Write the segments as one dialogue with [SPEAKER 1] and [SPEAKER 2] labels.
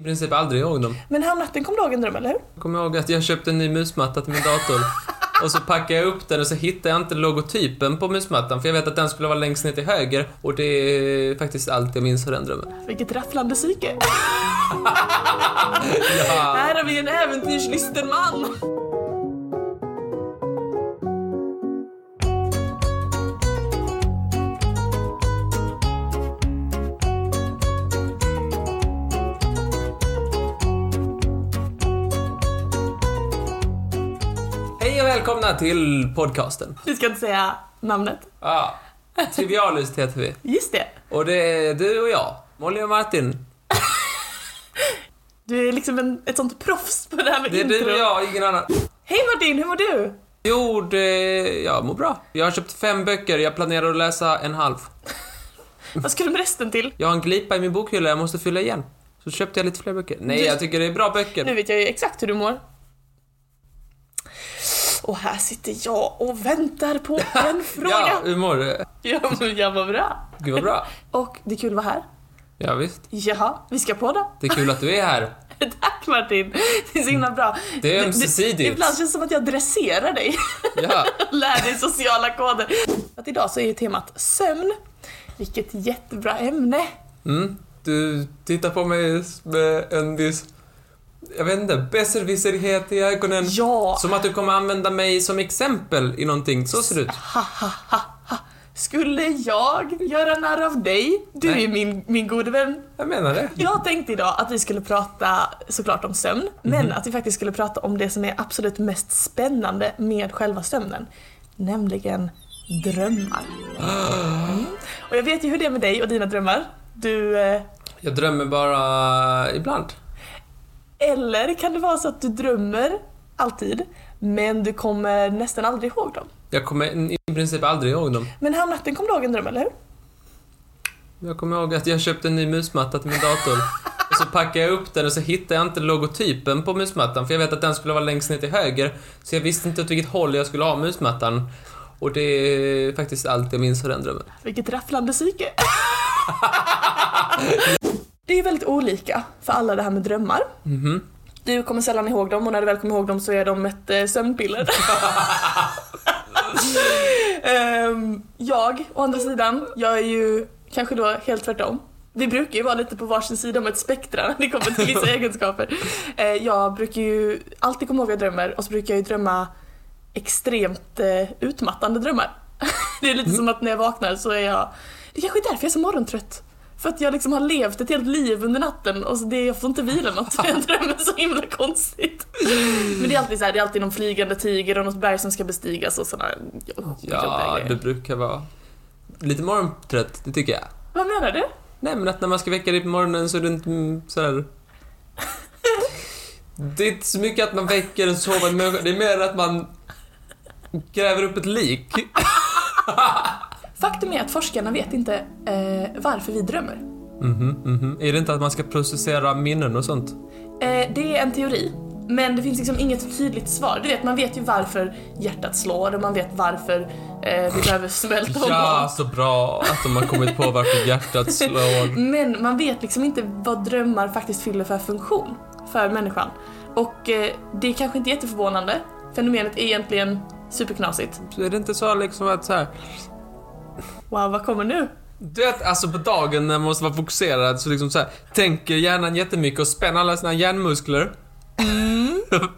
[SPEAKER 1] I princip aldrig ihåg dem.
[SPEAKER 2] Men hamnatten kom du ihåg en dröm, eller hur?
[SPEAKER 1] Jag kommer ihåg att jag köpte en ny musmatta till min dator. Och så packade jag upp den och så hittade jag inte logotypen på musmattan för jag vet att den skulle vara längst ner till höger och det är faktiskt allt jag minns av den drömmen.
[SPEAKER 2] Vilket rafflande psyke.
[SPEAKER 1] Ja.
[SPEAKER 2] Här har vi en äventyrslysten man.
[SPEAKER 1] Hej och välkomna till podcasten.
[SPEAKER 2] Vi ska inte säga namnet.
[SPEAKER 1] Ja, Trivialist heter vi.
[SPEAKER 2] Just det.
[SPEAKER 1] Och det är du och jag, Molly och Martin.
[SPEAKER 2] Du är liksom en, ett sånt proffs på det här med
[SPEAKER 1] Det är
[SPEAKER 2] intro.
[SPEAKER 1] du och jag, ingen annan.
[SPEAKER 2] Hej Martin, hur mår du?
[SPEAKER 1] Jo, det... Jag mår bra. Jag har köpt fem böcker, jag planerar att läsa en halv.
[SPEAKER 2] Vad ska du med resten till?
[SPEAKER 1] Jag har en glipa i min bokhylla, jag måste fylla igen. Så köpte jag lite fler böcker. Nej,
[SPEAKER 2] Du-
[SPEAKER 1] jag tycker det är bra böcker.
[SPEAKER 2] Nu vet jag ju exakt hur du mår. Och här sitter jag och väntar på en
[SPEAKER 1] Ja,
[SPEAKER 2] fråga.
[SPEAKER 1] hur mår du?
[SPEAKER 2] Ja, men jag mår bra.
[SPEAKER 1] Gud vad bra.
[SPEAKER 2] Och det är kul att vara här.
[SPEAKER 1] Ja, visst.
[SPEAKER 2] Jaha, vi ska på då.
[SPEAKER 1] Det är kul att du är här.
[SPEAKER 2] Tack Martin, det är så himla bra.
[SPEAKER 1] Det är ömsesidigt.
[SPEAKER 2] Ibland känns det som att jag dresserar dig.
[SPEAKER 1] Ja.
[SPEAKER 2] Lär dig sociala koder. Att idag så är ju temat sömn. Vilket jättebra ämne.
[SPEAKER 1] Mm. Du tittar på mig med en viss... Jag vet inte, besserwisserhet i ögonen.
[SPEAKER 2] Ja,
[SPEAKER 1] Som att du kommer använda mig som exempel i någonting. Så ser det ut.
[SPEAKER 2] skulle jag göra narr av dig? Du
[SPEAKER 1] Nej.
[SPEAKER 2] är min, min gode vän.
[SPEAKER 1] Jag menar det.
[SPEAKER 2] Jag tänkte idag att vi skulle prata såklart om sömn,
[SPEAKER 1] Mhm.
[SPEAKER 2] men att vi faktiskt skulle prata om det som är absolut mest spännande med själva sömnen. Nämligen drömmar. Mm. Och jag vet ju hur det är med dig och dina drömmar. Du, eh,
[SPEAKER 1] Jag drömmer bara ibland.
[SPEAKER 2] eller kan det vara så att du drömmer alltid, men du kommer nästan aldrig ihåg dem?
[SPEAKER 1] Jag kommer i princip aldrig ihåg dem.
[SPEAKER 2] Men häromnatten kom du ihåg en dröm, eller hur?
[SPEAKER 1] Jag kommer ihåg att jag köpte en ny musmatta till min dator. Och så packade jag upp den och så hittade jag inte logotypen på musmattan för jag vet att den skulle vara längst ner till höger. Så jag visste inte åt vilket håll jag skulle ha musmattan. Och det är faktiskt allt jag minns av den drömmen.
[SPEAKER 2] Vilket rafflande psyke! det är ju väldigt olika för alla det här med drömmar.
[SPEAKER 1] Mhm.
[SPEAKER 2] Du kommer sällan ihåg dem och när du väl kommer ihåg dem så är de ett eh, sömnpiller. Ehm, jag, å andra sidan, jag är ju kanske då helt tvärtom. Vi brukar ju vara lite på varsin sida om ett spektra när det kommer till vissa egenskaper. Eh, jag brukar ju alltid komma ihåg vad jag drömmer och så brukar jag ju drömma extremt eh, utmattande drömmar. det är
[SPEAKER 1] Mm.
[SPEAKER 2] lite som att när jag vaknar så är jag... Det kanske är därför jag är så morgontrött. För att jag liksom har levt ett helt liv under natten och så det, jag får inte vila något för jag drömmer så himla konstigt. Men det är alltid så här, det är alltid någon flygande tiger och något berg som ska bestigas och sådana jobbiga
[SPEAKER 1] Ja,
[SPEAKER 2] grejer.
[SPEAKER 1] du brukar vara lite morgontrött, det tycker jag.
[SPEAKER 2] Vad menar du?
[SPEAKER 1] Nej, men att när man ska väcka dig på morgonen så är det inte mm, så här... Det är inte så mycket att man väcker en sovande människa, det är mer att man gräver upp ett lik.
[SPEAKER 2] Faktum är att forskarna vet inte eh, varför vi drömmer.
[SPEAKER 1] Mhm, mhm. Är det inte att man ska processera minnen och sånt?
[SPEAKER 2] Eh, det är en teori, men det finns liksom inget tydligt svar. Du vet, man vet ju varför hjärtat slår och man vet varför eh, vi behöver smälta
[SPEAKER 1] Ja,
[SPEAKER 2] hormoner.
[SPEAKER 1] så bra att de har kommit på varför hjärtat slår.
[SPEAKER 2] Men man vet liksom inte vad drömmar faktiskt fyller för funktion för människan. Och eh, det är kanske inte jätteförvånande. Fenomenet är egentligen superknasigt.
[SPEAKER 1] Så är det inte så liksom att så här...
[SPEAKER 2] Wow, vad kommer nu?
[SPEAKER 1] Du vet, alltså på dagen när man måste vara fokuserad så liksom så här, tänker hjärnan jättemycket och spänner alla sina hjärnmuskler.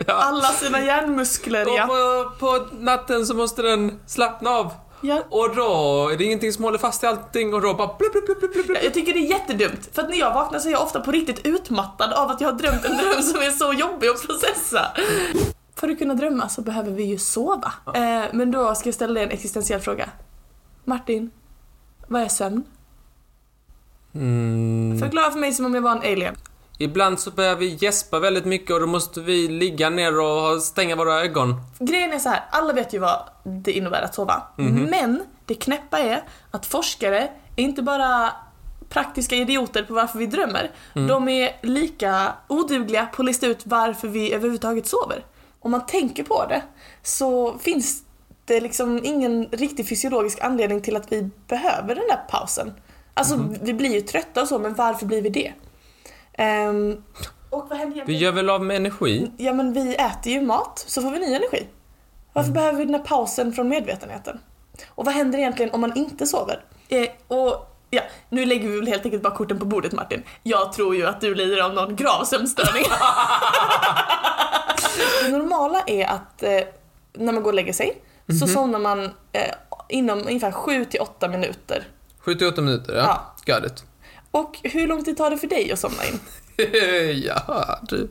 [SPEAKER 1] ja.
[SPEAKER 2] Alla sina hjärnmuskler,
[SPEAKER 1] Och
[SPEAKER 2] ja.
[SPEAKER 1] på, på natten så måste den slappna av.
[SPEAKER 2] ja.
[SPEAKER 1] Och då är det ingenting som håller fast i allting och då bara blup, blup, blup, blup, blup, blup.
[SPEAKER 2] Jag tycker det är jättedumt, för att när jag vaknar så är jag ofta på riktigt utmattad av att jag har drömt en dröm som är så jobbig att processa. För att kunna drömma så behöver vi ju sova. Eh, men då ska jag ställa dig en existentiell fråga. Martin, vad är sömn?
[SPEAKER 1] Mm.
[SPEAKER 2] Förklara för mig som om jag var en alien.
[SPEAKER 1] Ibland så börjar vi gäspa väldigt mycket och då måste vi ligga ner och ha- stänga våra ögon.
[SPEAKER 2] Grejen är så här, alla vet ju vad det innebär att sova. Men det knäppa är att forskare är inte bara praktiska idioter på varför vi drömmer. De är lika odugliga på att lista ut varför vi överhuvudtaget sover. Om man tänker på det så finns det liksom ingen riktig fysiologisk anledning till att vi behöver den där pausen. Alltså vi blir ju trötta och så, men varför blir vi det? Ehm, och vad händer
[SPEAKER 1] Vi
[SPEAKER 2] egentligen?
[SPEAKER 1] gör väl av med energi?
[SPEAKER 2] Ja men vi äter ju mat, så får vi ny energi. Varför behöver vi den här pausen från medvetenheten? Och vad händer egentligen om man inte sover? Eh, och ja, nu lägger vi väl helt enkelt bara korten på bordet Martin. Jag tror ju att du lider av någon grav sömnstörning. det normala är att eh, när man går och lägger sig så somnar man eh, inom ungefär 7 till 8 minuter.
[SPEAKER 1] 78 minuter, ja. Got it.
[SPEAKER 2] Och hur lång tid tar det för dig att somna in?
[SPEAKER 1] ja, typ.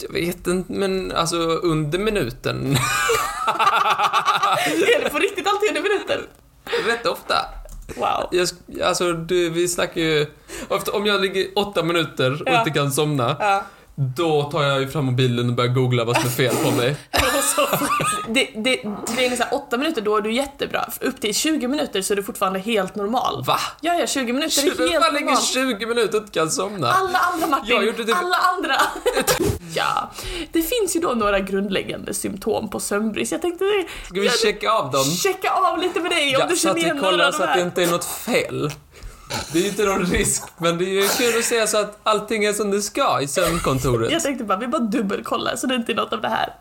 [SPEAKER 1] Jag vet inte, men alltså under minuten.
[SPEAKER 2] är det på riktigt alltid under minuter?
[SPEAKER 1] Rätt ofta.
[SPEAKER 2] Wow.
[SPEAKER 1] Jag, sk- alltså, du, vi snackar ju... Ofta, om jag ligger åtta minuter och
[SPEAKER 2] Ja.
[SPEAKER 1] inte kan somna,
[SPEAKER 2] Ja.
[SPEAKER 1] då tar jag ju fram mobilen och börjar googla vad som är fel på mig.
[SPEAKER 2] Alltså, det, det, det är liksom 8 minuter, då är du jättebra. Upp till 20 minuter så är du fortfarande helt normal.
[SPEAKER 1] Va?
[SPEAKER 2] Ja, ja, 20 minuter är
[SPEAKER 1] Fan,
[SPEAKER 2] helt
[SPEAKER 1] ligger
[SPEAKER 2] normalt.
[SPEAKER 1] 20 minuter och inte kan somna.
[SPEAKER 2] Alla andra Martin,
[SPEAKER 1] Jag gjorde det- typ-
[SPEAKER 2] alla andra. ja, det finns ju då några grundläggande symptom på sömnbrist. Jag tänkte
[SPEAKER 1] Ska vi checka av dem?
[SPEAKER 2] checka av lite med dig om
[SPEAKER 1] Ja,
[SPEAKER 2] du
[SPEAKER 1] så
[SPEAKER 2] känner
[SPEAKER 1] att vi
[SPEAKER 2] igen några
[SPEAKER 1] kollar
[SPEAKER 2] av
[SPEAKER 1] så
[SPEAKER 2] de
[SPEAKER 1] att det
[SPEAKER 2] här.
[SPEAKER 1] inte är något fel. Det är ju inte någon risk, men det är ju kul att se så att allting är som det ska i sömnkontoret.
[SPEAKER 2] Jag tänkte bara, vi bara dubbelkollar så det inte är något av det här.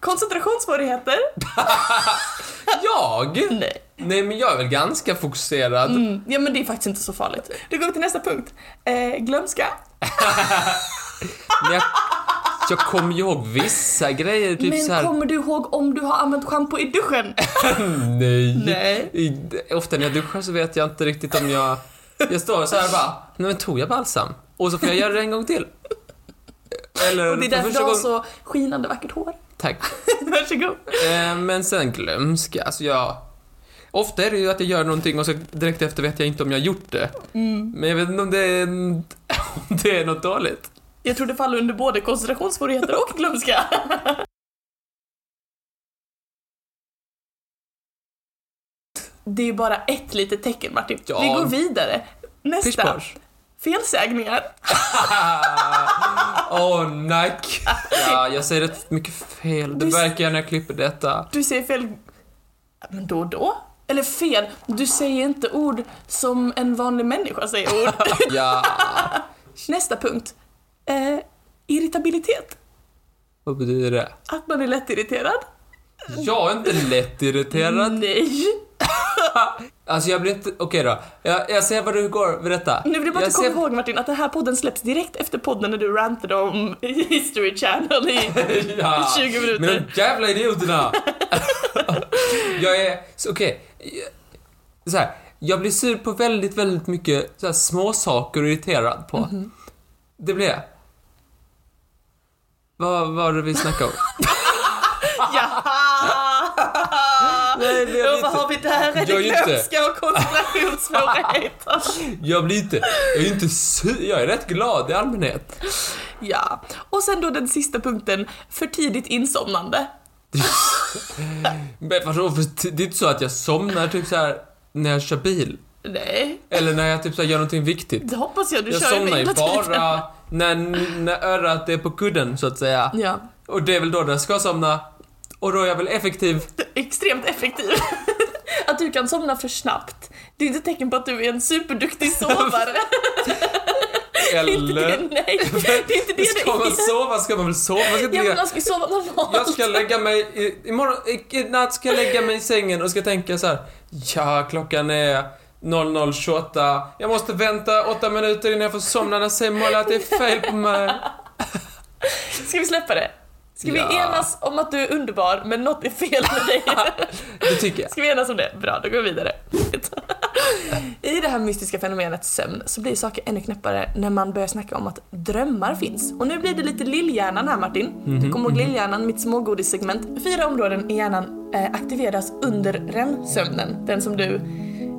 [SPEAKER 2] Koncentrationssvårigheter?
[SPEAKER 1] Jag?
[SPEAKER 2] Nej.
[SPEAKER 1] Nej, men jag är väl ganska fokuserad.
[SPEAKER 2] Mm, ja men det är faktiskt inte så farligt. Då går vi till nästa punkt. Eh, glömska.
[SPEAKER 1] Men jag, jag kommer ju ihåg vissa grejer, typ
[SPEAKER 2] men
[SPEAKER 1] så här.
[SPEAKER 2] kommer du ihåg om du har använt schampo i duschen?
[SPEAKER 1] Nej.
[SPEAKER 2] Nej.
[SPEAKER 1] I- Ofta när jag duschar så vet jag inte riktigt om jag... Jag står så här och bara, nej men tog jag balsam? Och så får jag göra det en gång till. Eller
[SPEAKER 2] Och det är
[SPEAKER 1] för
[SPEAKER 2] därför du
[SPEAKER 1] första
[SPEAKER 2] har
[SPEAKER 1] gången...
[SPEAKER 2] så skinande vackert hår.
[SPEAKER 1] Tack.
[SPEAKER 2] Varsågod.
[SPEAKER 1] Eh, men sen glömska, alltså jag... Ofta är det ju att jag gör någonting och så direkt efter vet jag inte om jag gjort det.
[SPEAKER 2] Mm.
[SPEAKER 1] Men jag vet inte om det är, en- om det är något dåligt.
[SPEAKER 2] Jag tror det faller under både koncentrationssvårigheter och glömska. Det är ju bara ett litet tecken Martin.
[SPEAKER 1] Ja.
[SPEAKER 2] Vi går vidare.
[SPEAKER 1] Pish
[SPEAKER 2] Nästa.
[SPEAKER 1] posh.
[SPEAKER 2] Felsägningar.
[SPEAKER 1] Åh, nack. Ja, jag säger rätt mycket fel. Det
[SPEAKER 2] Du s-
[SPEAKER 1] märker jag när jag klipper detta.
[SPEAKER 2] Du säger fel... Men då och då? Eller fel, du säger inte ord som en vanlig människa säger ord.
[SPEAKER 1] Ja.
[SPEAKER 2] Nästa punkt. Eh, irritabilitet.
[SPEAKER 1] Vad betyder det?
[SPEAKER 2] Att man är lättirriterad.
[SPEAKER 1] Jag är inte lätt
[SPEAKER 2] Mm.
[SPEAKER 1] irriterad.
[SPEAKER 2] Nej!
[SPEAKER 1] Alltså jag blir inte... Okej då. Jag, jag ser vad du går. Berätta.
[SPEAKER 2] Nu vill jag bara
[SPEAKER 1] jag
[SPEAKER 2] att du kommer ihåg Martin att den här podden släpps direkt efter podden när du rantade om History Channel i
[SPEAKER 1] Ja.
[SPEAKER 2] 20 minuter.
[SPEAKER 1] Men de jävla idioterna! jag är... så, Okej. Så här. Jag blir sur på väldigt, väldigt mycket så här, små saker och irriterad på.
[SPEAKER 2] Mhm.
[SPEAKER 1] Det blir jag. Vad vad var det vi snackade om?
[SPEAKER 2] Jaha!
[SPEAKER 1] Nej, men jag vet
[SPEAKER 2] Och vad
[SPEAKER 1] inte.
[SPEAKER 2] har vi där? Är det
[SPEAKER 1] Jag är inte-
[SPEAKER 2] glömska och koncentrationssvårigheter?
[SPEAKER 1] Jag blir inte... Jag är inte sur. Jag är rätt glad i allmänhet.
[SPEAKER 2] ja. Och sen då den sista punkten, för tidigt insomnande.
[SPEAKER 1] Men vadå? För Det är inte så att jag somnar typ så här när jag kör bil.
[SPEAKER 2] Nej,
[SPEAKER 1] Eller när jag typ så här, gör någonting viktigt.
[SPEAKER 2] det hoppas jag du
[SPEAKER 1] Jag
[SPEAKER 2] kör
[SPEAKER 1] somnar ju
[SPEAKER 2] hela tiden.
[SPEAKER 1] bara när, när örat är på kudden så att säga.
[SPEAKER 2] Ja,
[SPEAKER 1] Och det är väl då den ska somna. Och då är jag väl effektiv.
[SPEAKER 2] extremt effektiv. Att du kan somna för snabbt, det är inte ett tecken på att du är en superduktig sovare. Det är inte det,
[SPEAKER 1] Eller...
[SPEAKER 2] nej. Det är inte det det
[SPEAKER 1] Ska man
[SPEAKER 2] är.
[SPEAKER 1] sova ska man väl sova? Man ska inte
[SPEAKER 2] Ja, men
[SPEAKER 1] ligga...
[SPEAKER 2] man ska ju sova normalt.
[SPEAKER 1] Jag ska lägga mig i, imorgon, i, i natt ska jag lägga mig i sängen och ska tänka så här. Ja, klockan är 00.28. Jag måste vänta åtta minuter innan jag får somna när säger Molly att det är fel på mig.
[SPEAKER 2] Ska vi släppa det? Ska vi
[SPEAKER 1] Ja.
[SPEAKER 2] enas om att du är underbar men något är fel med dig?
[SPEAKER 1] Det tycker jag.
[SPEAKER 2] Ska vi enas om det? Bra, då går vi vidare. I det här mystiska fenomenet sömn så blir saker ännu knäppare när man börjar snacka om att drömmar finns. Och nu blir det lite lillhjärnan här Martin. Du kommer ihåg lillhjärnan, mitt smågodissegment. Fyra områden i hjärnan eh, aktiveras under REM-sömnen, den som du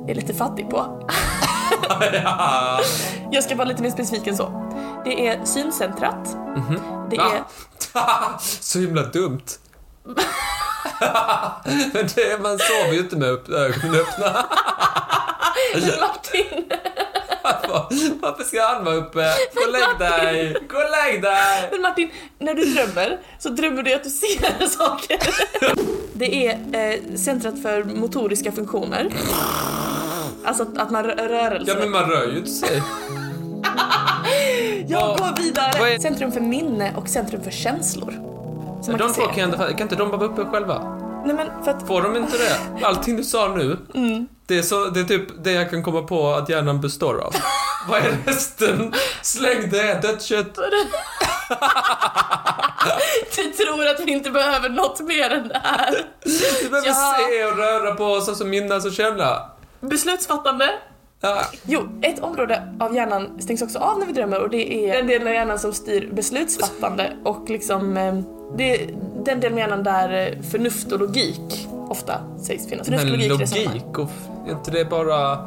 [SPEAKER 2] är lite fattig på.
[SPEAKER 1] Ja.
[SPEAKER 2] Jag ska vara lite mer specifik än så. Det är syncentrat. Det
[SPEAKER 1] Va?
[SPEAKER 2] är...
[SPEAKER 1] Så himla dumt. Men det, man sover ju inte med upp- ögonen öppna.
[SPEAKER 2] Martin!
[SPEAKER 1] Varför ska han vara uppe? Gå och lägg dig! Gå och lägg dig!
[SPEAKER 2] Men Martin, när du drömmer så drömmer du att du ser saker. Det är eh, centrat för motoriska funktioner. Alltså att, att man rör rörelser.
[SPEAKER 1] Ja men man rör ju inte sig.
[SPEAKER 2] Jag
[SPEAKER 1] Vad-
[SPEAKER 2] går
[SPEAKER 1] vad
[SPEAKER 2] vidare!
[SPEAKER 1] är-
[SPEAKER 2] Centrum för minne och Centrum för känslor. Som man
[SPEAKER 1] De
[SPEAKER 2] kan
[SPEAKER 1] två
[SPEAKER 2] se.
[SPEAKER 1] kan jag inte fatta. Kan inte de bara vara uppe själva?
[SPEAKER 2] Nej men för att...
[SPEAKER 1] Får de inte det? Allting du sa nu,
[SPEAKER 2] Mm.
[SPEAKER 1] det, är så, det är typ det jag kan komma på att hjärnan består av. Vad är resten? Släng det, dött kött.
[SPEAKER 2] Du tror att vi inte behöver något mer än det här.
[SPEAKER 1] Vi behöver
[SPEAKER 2] Ja.
[SPEAKER 1] se och röra på oss och så minnas och känna.
[SPEAKER 2] Beslutsfattande.
[SPEAKER 1] Ja.
[SPEAKER 2] Jo, ett område av hjärnan stängs också av när vi drömmer och det är den delen av hjärnan som styr beslutsfattande och liksom eh, det är den delen av hjärnan där eh, förnuft och logik ofta sägs finnas. Förnuft,
[SPEAKER 1] Men
[SPEAKER 2] resonemang.
[SPEAKER 1] logik, och f- är inte det bara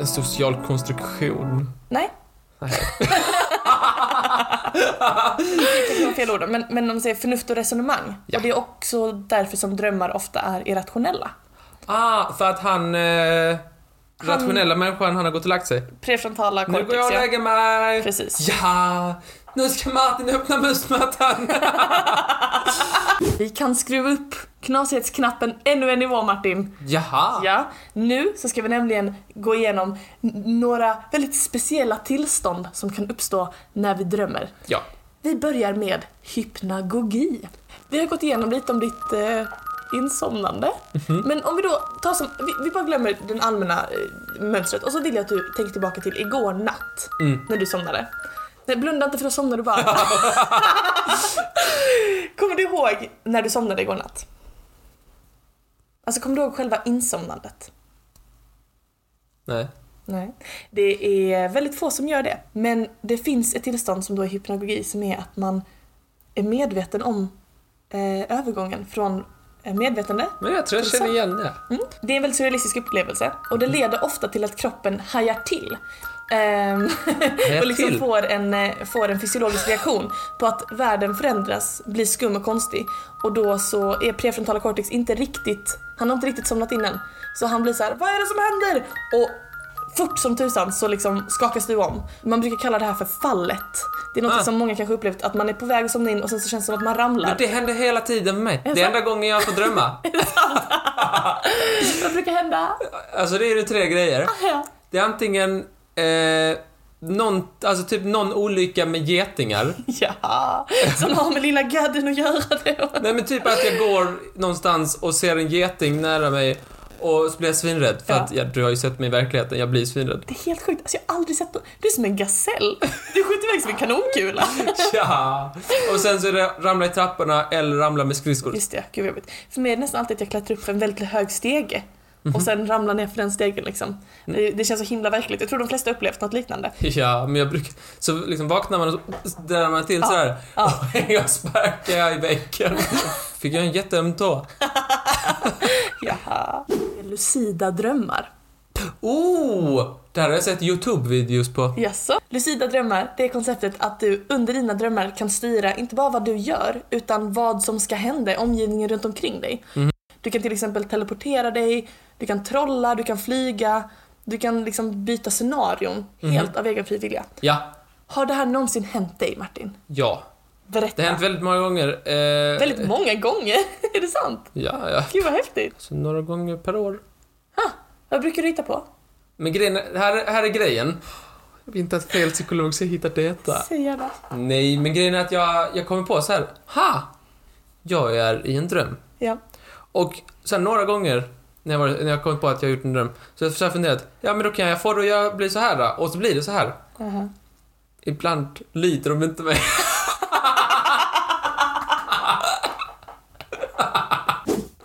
[SPEAKER 1] en social konstruktion?
[SPEAKER 2] Nej.
[SPEAKER 1] Nej.
[SPEAKER 2] Det kanske var fel ord, men, men de säger förnuft och resonemang.
[SPEAKER 1] Ja.
[SPEAKER 2] Och det är också därför som drömmar ofta är irrationella.
[SPEAKER 1] Ah, för att han... Eh, rationella människan, han har gått och lagt sig.
[SPEAKER 2] Prefrontala
[SPEAKER 1] Nu
[SPEAKER 2] cortex.
[SPEAKER 1] går jag och
[SPEAKER 2] ja.
[SPEAKER 1] lägger mig!
[SPEAKER 2] Precis.
[SPEAKER 1] Ja! Nu ska Martin öppna musmattan!
[SPEAKER 2] Vi kan skruva upp knasighetsknappen ännu en nivå Martin.
[SPEAKER 1] Jaha!
[SPEAKER 2] Ja, nu så ska vi nämligen gå igenom n- några väldigt speciella tillstånd som kan uppstå när vi drömmer.
[SPEAKER 1] Ja.
[SPEAKER 2] Vi börjar med hypnagogi. Vi har gått igenom lite om ditt eh, insomnande. Men om vi då tar som, vi, vi bara glömmer den allmänna eh, mönstret och så vill jag att du tänker tillbaka till igår natt
[SPEAKER 1] Mm.
[SPEAKER 2] när du somnade. Nej, blunda inte för då somnar du bara. kommer du ihåg när du somnade igår natt? Alltså kommer du ihåg själva insomnandet?
[SPEAKER 1] Nej.
[SPEAKER 2] Nej. Det är väldigt få som gör det. Men det finns ett tillstånd som då är hypnagogi som är att man är medveten om eh, övergången från eh, medvetande.
[SPEAKER 1] Men jag tror jag känner igen det.
[SPEAKER 2] Mm. Det är en väldigt surrealistisk upplevelse och
[SPEAKER 1] Mm.
[SPEAKER 2] det leder ofta till att kroppen hajar till. Ehm,
[SPEAKER 1] Hajar
[SPEAKER 2] och liksom
[SPEAKER 1] till?
[SPEAKER 2] får en, eh, får en fysiologisk reaktion på att världen förändras, blir skum och konstig. Och då så är prefrontala cortex inte riktigt, han har inte riktigt somnat in än. Så han blir så här: vad är det som händer? Och fort som tusan så liksom skakas du om. Man brukar kalla det här för fallet. Det är något
[SPEAKER 1] Ah.
[SPEAKER 2] som många kanske upplevt, att man är på väg att somna in och sen så känns det som att man ramlar.
[SPEAKER 1] Men det händer hela tiden med mig. Det är
[SPEAKER 2] sant?
[SPEAKER 1] enda gången jag får drömma.
[SPEAKER 2] Vad brukar hända?
[SPEAKER 1] Alltså det är ju tre grejer.
[SPEAKER 2] Ja.
[SPEAKER 1] Det är antingen eh, någon, alltså typ någon olycka med getingar.
[SPEAKER 2] Ja, som har med lilla gadden att göra det.
[SPEAKER 1] Nej men typ att jag går någonstans och ser en geting nära mig och så blir jag svinrädd. För
[SPEAKER 2] Ja.
[SPEAKER 1] att jag, du har ju sett mig i verkligheten, jag blir svinrädd.
[SPEAKER 2] Det är helt sjukt, alltså jag har aldrig sett på... Du är som en gasell. Du skjuter iväg som en kanonkula.
[SPEAKER 1] Ja. Och sen så är det ramla i trapporna eller ramla med skridskor.
[SPEAKER 2] Just det, gud vad jobbigt. För mig är det nästan alltid att jag klättrar upp för en väldigt hög stege och sen ramlar ner för den stegen liksom. Det, det känns så himla verkligt. Jag tror de flesta upplevt något liknande.
[SPEAKER 1] Ja, men jag brukar... Så liksom vaknar man och så drar man till såhär.
[SPEAKER 2] ja.
[SPEAKER 1] Och jag sparkar i väggen. Fick jag en jätteöm tå?
[SPEAKER 2] Jaha. Lucida drömmar.
[SPEAKER 1] Oh! Det här har jag sett YouTube-videos på.
[SPEAKER 2] Jaså? Lucida drömmar, det är konceptet att du under dina drömmar kan styra inte bara vad du gör utan vad som ska hända i omgivningen runt omkring dig.
[SPEAKER 1] Mm.
[SPEAKER 2] Du kan till exempel teleportera dig, du kan trolla, du kan flyga, du kan liksom byta scenarion
[SPEAKER 1] Mhm.
[SPEAKER 2] helt av egen fri vilja.
[SPEAKER 1] Ja,
[SPEAKER 2] Har det här någonsin hänt dig Martin?
[SPEAKER 1] ja.
[SPEAKER 2] Berätta.
[SPEAKER 1] Det har hänt väldigt många gånger. Eh,
[SPEAKER 2] Väldigt många gånger, är det sant?
[SPEAKER 1] Ja, ja.
[SPEAKER 2] Gud vad häftigt.
[SPEAKER 1] Så några gånger per år.
[SPEAKER 2] Vad brukar du hitta på?
[SPEAKER 1] Men grejen, är- här, är- här är grejen. Jag vill inte att fel psykolog ska hitta detta.
[SPEAKER 2] Säg gärna.
[SPEAKER 1] Nej, men grejen är att jag, jag kommer på så här. Ha! Jag är i en dröm.
[SPEAKER 2] Ja.
[SPEAKER 1] Och sen några gånger när jag, var, när jag kom på att jag gjort en dröm, så jag försökte fundera att ja men då kan jag få det och jag blir så här då, och så blir det så här.
[SPEAKER 2] Aha.
[SPEAKER 1] Ibland lyder de inte mig.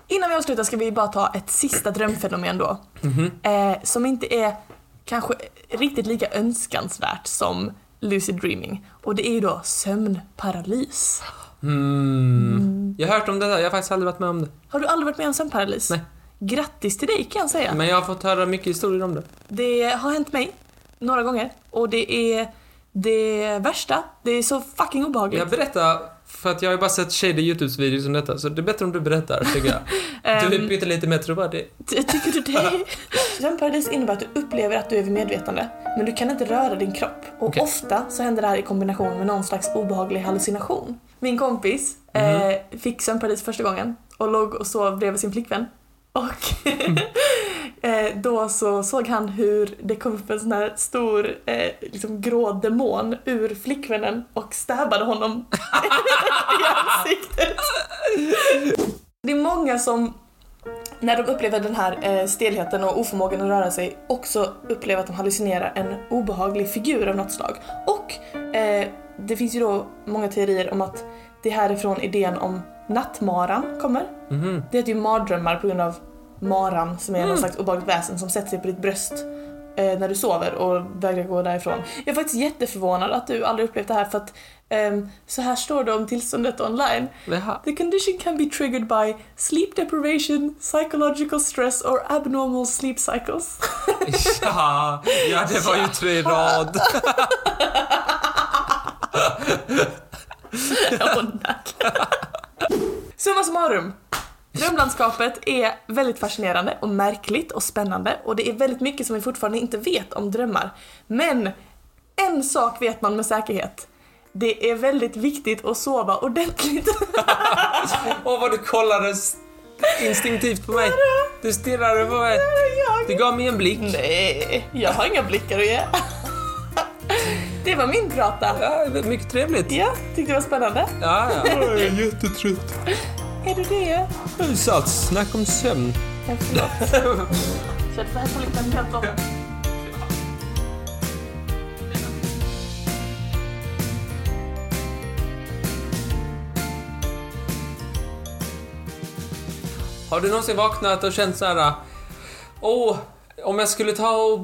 [SPEAKER 2] Innan vi avslutar ska vi bara ta ett sista drömfenomen då. Eh, som inte är kanske riktigt lika önskansvärt som lucid dreaming. Och det är ju då sömnparalys.
[SPEAKER 1] Mm. Jag har hört om det där, jag har faktiskt aldrig varit med om det.
[SPEAKER 2] Har du aldrig varit med om sömnparalys?
[SPEAKER 1] Nej.
[SPEAKER 2] Grattis till dig kan jag säga.
[SPEAKER 1] Men jag har fått höra mycket historier om det.
[SPEAKER 2] Det har hänt mig några gånger och det är det värsta. Det är så fucking obehagligt.
[SPEAKER 1] Jag berättar för att jag har ju bara sett shady YouTube-videos om detta, så det är bättre om du berättar, tycker jag. Du är
[SPEAKER 2] Ehm.
[SPEAKER 1] pyttelite mer trovärdig.
[SPEAKER 2] Ty- Tycker du det? Sömnparalys innebär att du upplever att du är vid medvetande, men du kan inte röra din kropp. Och
[SPEAKER 1] Okej.
[SPEAKER 2] ofta så händer det här i kombination med någon slags obehaglig hallucination. Min kompis eh, fick sömnparalys första gången och låg och sov bredvid sin flickvän. Och Eh, då så såg han hur det kom upp en sån här stor eh, liksom grå demon ur flickvännen och stabbade honom i ansiktet. Det är många som när de upplever den här eh, stelheten och oförmågan att röra sig också upplever att de hallucinerar en obehaglig figur av något slag. Och eh, det finns ju då många teorier om att det är härifrån idén om nattmaran kommer.
[SPEAKER 1] Mhm.
[SPEAKER 2] Det heter ju mardrömmar på grund av maran som är någon slags obehagligt väsen som sätter sig på ditt bröst eh, när du sover och vägrar gå därifrån. Jag är faktiskt jätteförvånad att du aldrig upplevt det här för att ehm, så här står det om tillståndet online.
[SPEAKER 1] Jaha.
[SPEAKER 2] The condition can be triggered by sleep deprivation, psychological stress or abnormal sleep cycles.
[SPEAKER 1] Ja, ja, det var ju tre i rad.
[SPEAKER 2] Åh, nack. Summa summarum. Drömlandskapet är väldigt fascinerande och märkligt och spännande och det är väldigt mycket som vi fortfarande inte vet om drömmar. Men en sak vet man med säkerhet. Det är väldigt viktigt att sova ordentligt.
[SPEAKER 1] Åh, vad du kollade s- instinktivt på mig. Du stirrade på mig. Du gav mig en blick.
[SPEAKER 2] Nej, jag har inga blickar att ge. Det var min prata.
[SPEAKER 1] Ja, det är mycket trevligt.
[SPEAKER 2] Ja, tyckte det var spännande.
[SPEAKER 1] Ja, ja. Jag är jättetrött.
[SPEAKER 2] Är du det?
[SPEAKER 1] Sats, snack om sömn.
[SPEAKER 2] Ja, förlåt. Så det här får liksom helt om.
[SPEAKER 1] Har du någonsin vaknat och känt så här... Åh, om jag skulle ta och...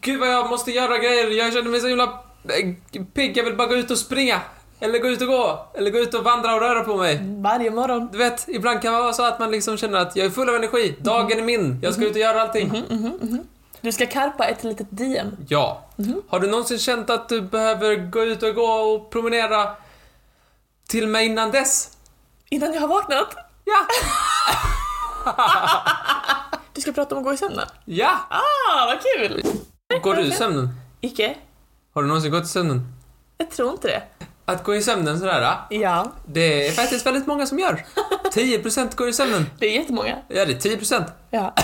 [SPEAKER 1] Gud vad jag måste göra grejer. Jag känner mig så himla eh, pigg. Jag vill bara gå ut och springa. Eller gå ut och gå. Eller gå ut och vandra och röra på mig.
[SPEAKER 2] Varje morgon.
[SPEAKER 1] Du vet, ibland kan det vara så att man liksom känner att jag är full av energi. Dagen är min. Jag ska ut och göra allting.
[SPEAKER 2] Du ska karpa ett litet DM.
[SPEAKER 1] Ja. Har du någonsin känt att du behöver gå ut och gå och promenera till mig innan dess?
[SPEAKER 2] Innan jag har vaknat.
[SPEAKER 1] Ja!
[SPEAKER 2] Du ska prata om att gå i sömnen.
[SPEAKER 1] Ja!
[SPEAKER 2] Ah, vad kul!
[SPEAKER 1] Går du i sömnen?
[SPEAKER 2] Icke.
[SPEAKER 1] Har du någonsin gått i sömnen?
[SPEAKER 2] Jag tror inte det.
[SPEAKER 1] Att gå i sömnen sådär,
[SPEAKER 2] Ja.
[SPEAKER 1] det är faktiskt väldigt många som gör. 10% går i sömnen.
[SPEAKER 2] Det är jättemånga.
[SPEAKER 1] Ja, det är 10%.
[SPEAKER 2] Ja.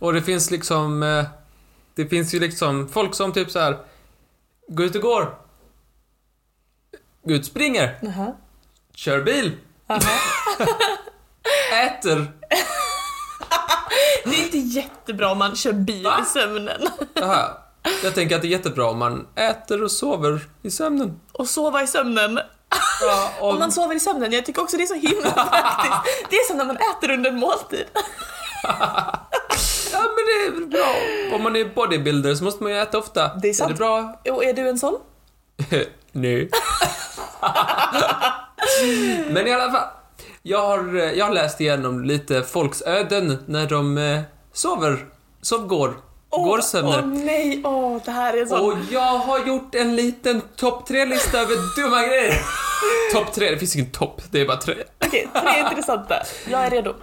[SPEAKER 1] Och det finns liksom... eh, Det finns ju liksom folk som typ så här går ut och går. Går ut och springer.
[SPEAKER 2] Jaha.
[SPEAKER 1] Kör bil.
[SPEAKER 2] Jaha.
[SPEAKER 1] Äter.
[SPEAKER 2] Det är inte jättebra om man kör bil
[SPEAKER 1] Va?
[SPEAKER 2] i sömnen.
[SPEAKER 1] Jaha. Jag tänker att det är jättebra om man äter och sover i sömnen.
[SPEAKER 2] Och sova i sömnen.
[SPEAKER 1] Ja,
[SPEAKER 2] Om man sover i sömnen, jag tycker också det är så himla praktiskt. Det är som när man äter under en måltid.
[SPEAKER 1] ja, men det är väl bra. Om man är bodybuilder så måste man ju äta ofta.
[SPEAKER 2] Det är sant.
[SPEAKER 1] Är det bra?
[SPEAKER 2] Och är du en sån?
[SPEAKER 1] Nej. men i alla fall. Jag har, eh, jag har läst igenom lite folks öden när de eh, sover. Sovgår.
[SPEAKER 2] Åh,
[SPEAKER 1] går
[SPEAKER 2] Åh
[SPEAKER 1] sömner.
[SPEAKER 2] nej, åh det här är en sån.
[SPEAKER 1] Och jag har gjort en liten topp tre-lista över dumma grejer. topp tre, det finns ingen topp, det är bara tre.
[SPEAKER 2] Okej, tre intressanta. Jag är redo.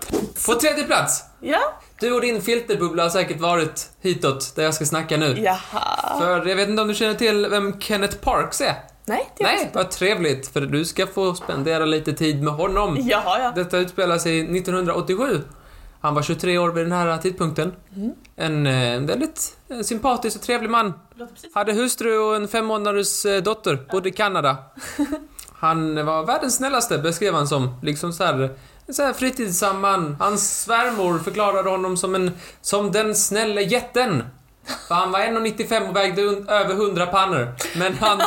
[SPEAKER 1] På tredje plats
[SPEAKER 2] Ja.
[SPEAKER 1] Du och din filterbubbla har säkert varit hitåt, där jag ska snacka nu.
[SPEAKER 2] Jaha.
[SPEAKER 1] För jag vet inte om du känner till vem Kenneth Parks är?
[SPEAKER 2] Nej, det är
[SPEAKER 1] Nej, vad trevligt, för du ska få spendera lite tid med honom.
[SPEAKER 2] Jaha, ja.
[SPEAKER 1] Detta utspelar sig 1987. Han var 23 år vid den här tidpunkten.
[SPEAKER 2] Mm.
[SPEAKER 1] En eh, väldigt eh, sympatisk och trevlig man.
[SPEAKER 2] Det låter precis.
[SPEAKER 1] Hade hustru och en fem månaders eh, dotter, bodde i Kanada. Han var världens snällaste, beskrev han som. Liksom så här, en så här fritidsam man. Hans svärmor förklarade honom som en, som den snälle jätten. För han var 1,95 och vägde un, över 100 pannor. Men han...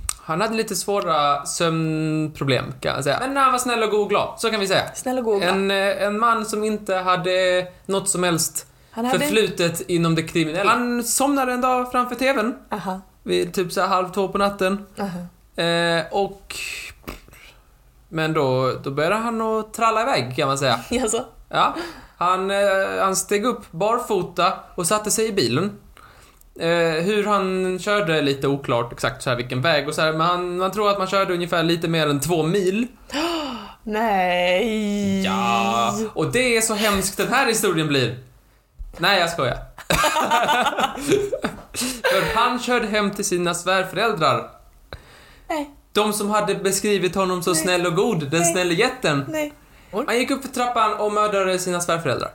[SPEAKER 1] han hade lite svåra sömnproblem kan jag säga. Men han var snäll och god och glad, så kan vi säga.
[SPEAKER 2] Snäll och god.
[SPEAKER 1] En, eh, en man som inte hade eh, något som helst
[SPEAKER 2] Han hade...
[SPEAKER 1] förflutet inom det kriminella. Han somnade en dag framför TVn
[SPEAKER 2] Aha.
[SPEAKER 1] vid typ så här halv två på natten.
[SPEAKER 2] Aha.
[SPEAKER 1] Eh, och... Men då, då började han att tralla iväg kan man säga.
[SPEAKER 2] Jaså?
[SPEAKER 1] Ja. Han, eh, han steg upp barfota och satte sig i bilen. Eh, hur han körde är lite oklart exakt så här vilken väg och så här, men han, man tror att man körde ungefär lite mer än två mil.
[SPEAKER 2] Nej.
[SPEAKER 1] Ja, och det är så hemskt den här historien blir. Nej, jag skojar. För han körde hem till sina svärföräldrar.
[SPEAKER 2] Nej,
[SPEAKER 1] De som hade beskrivit honom som
[SPEAKER 2] Nej.
[SPEAKER 1] snäll och god, den
[SPEAKER 2] Nej.
[SPEAKER 1] snälle jätten.
[SPEAKER 2] nej.
[SPEAKER 1] Han gick upp för trappan och mördade sina svärföräldrar.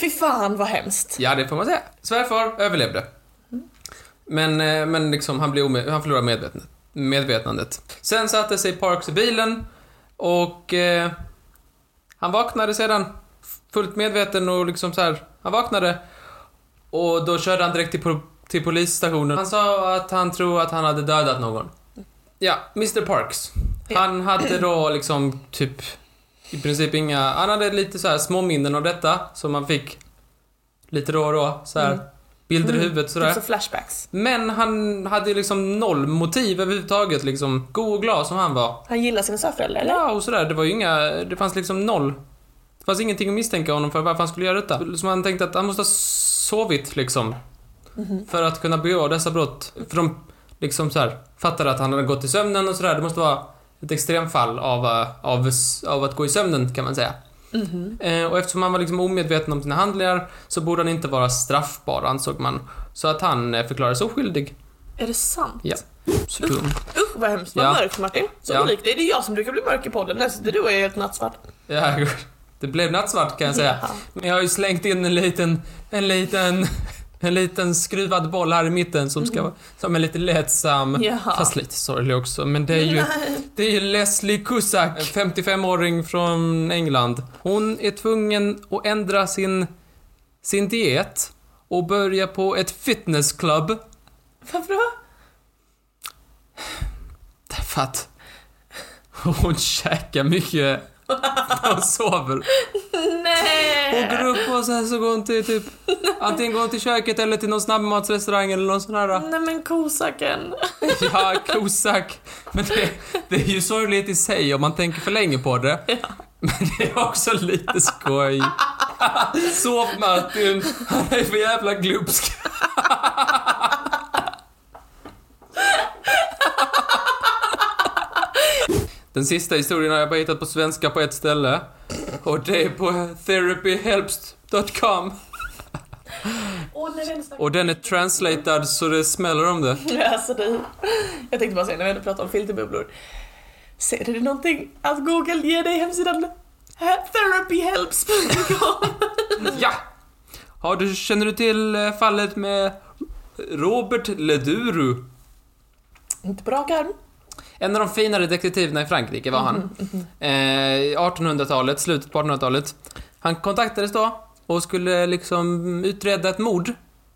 [SPEAKER 2] Fy fan vad hemskt.
[SPEAKER 1] Ja, det får man säga. Svärfar överlevde. Men, eh, men liksom, han, blev ome- han förlorade medvetandet. medvetandet. Sen satte sig Parks i bilen och eh, han vaknade sedan fullt medveten och liksom så här, han vaknade och då körde han direkt till, po- till polisstationen. Han sa att han tror att han hade dödat någon. Ja, Mr Parks.
[SPEAKER 2] Ja.
[SPEAKER 1] Han hade då liksom typ i princip inga, han hade lite så här små minnen av detta som man fick lite då och då så här
[SPEAKER 2] Mm.
[SPEAKER 1] bilder i
[SPEAKER 2] Mm.
[SPEAKER 1] huvudet sådär.
[SPEAKER 2] Typ så flashbacks.
[SPEAKER 1] Men han hade ju liksom noll motiv överhuvudtaget liksom. God och glad som han var.
[SPEAKER 2] Han gillar sina svärföräldrar eller?
[SPEAKER 1] Ja, och sådär. Det var ju inga, det fanns liksom noll. Det fanns ingenting att misstänka honom för varför han skulle göra detta. Som han tänkte att han måste ha sovit liksom. För att kunna begå dessa brott. För de liksom så här, fattade att han hade gått i sömnen och sådär. Det måste vara ett extremfall av, eh, av, av att gå i sömnen kan man säga.
[SPEAKER 2] Mhm.
[SPEAKER 1] Eh, och eftersom han var liksom omedveten om sina handlingar så borde han inte vara straffbar ansåg man. Så att han eh, förklarades oskyldig.
[SPEAKER 2] Är det sant?
[SPEAKER 1] Ja. Så dum.
[SPEAKER 2] Usch vad hemskt, vad
[SPEAKER 1] Ja.
[SPEAKER 2] mörkt Martin. Så
[SPEAKER 1] Ja.
[SPEAKER 2] lik dig. Det är jag som brukar bli mörk i podden. Där sitter du och är helt nattsvart.
[SPEAKER 1] Ja, det blev nattsvart kan jag säga.
[SPEAKER 2] Ja.
[SPEAKER 1] Men jag har ju slängt in en liten, en liten, en liten skruvad boll här i mitten som ska vara, som är lite lättsam.
[SPEAKER 2] Jaha.
[SPEAKER 1] Fast lite sorglig också. Men det är ju,
[SPEAKER 2] Nej.
[SPEAKER 1] det är ju Leslie Cusack, en 55-åring från England. Hon är tvungen att ändra sin, sin diet och börja på ett fitnessclub.
[SPEAKER 2] Varför då?
[SPEAKER 1] Därför att hon käkar mycket och sover. Hon går
[SPEAKER 2] Nej!
[SPEAKER 1] upp och sen så går hon till typ Antingen går hon till köket eller till någon snabbmatsrestaurang eller någon sån här
[SPEAKER 2] Nej men kosaken.
[SPEAKER 1] Ja, kosack Men det, det är ju sorgligt i sig om man tänker för länge på det Men det är också lite skoj Sov Martin, han är för jävla glupsk Den sista historien har jag bara hittat på svenska på ett ställe och det är på therapyhelps.com
[SPEAKER 2] Åh nej, vi har inte snackat-
[SPEAKER 1] och den är translated så det smäller om det.
[SPEAKER 2] Nej, Alltså, det... Jag tänkte bara säga, när vi ändå pratar om filterbubblor. Ser du någonting att Google ger dig hemsidan therapyhelps.com?
[SPEAKER 1] Ja! Har du, känner du till eh, fallet med Robert Leduru?
[SPEAKER 2] Inte på rak arm. Mm,
[SPEAKER 1] En av de finare detektiverna i Frankrike var han. Eh, 1800-talet, slutet på 1800-talet. Han kontaktades då och skulle liksom utreda ett mord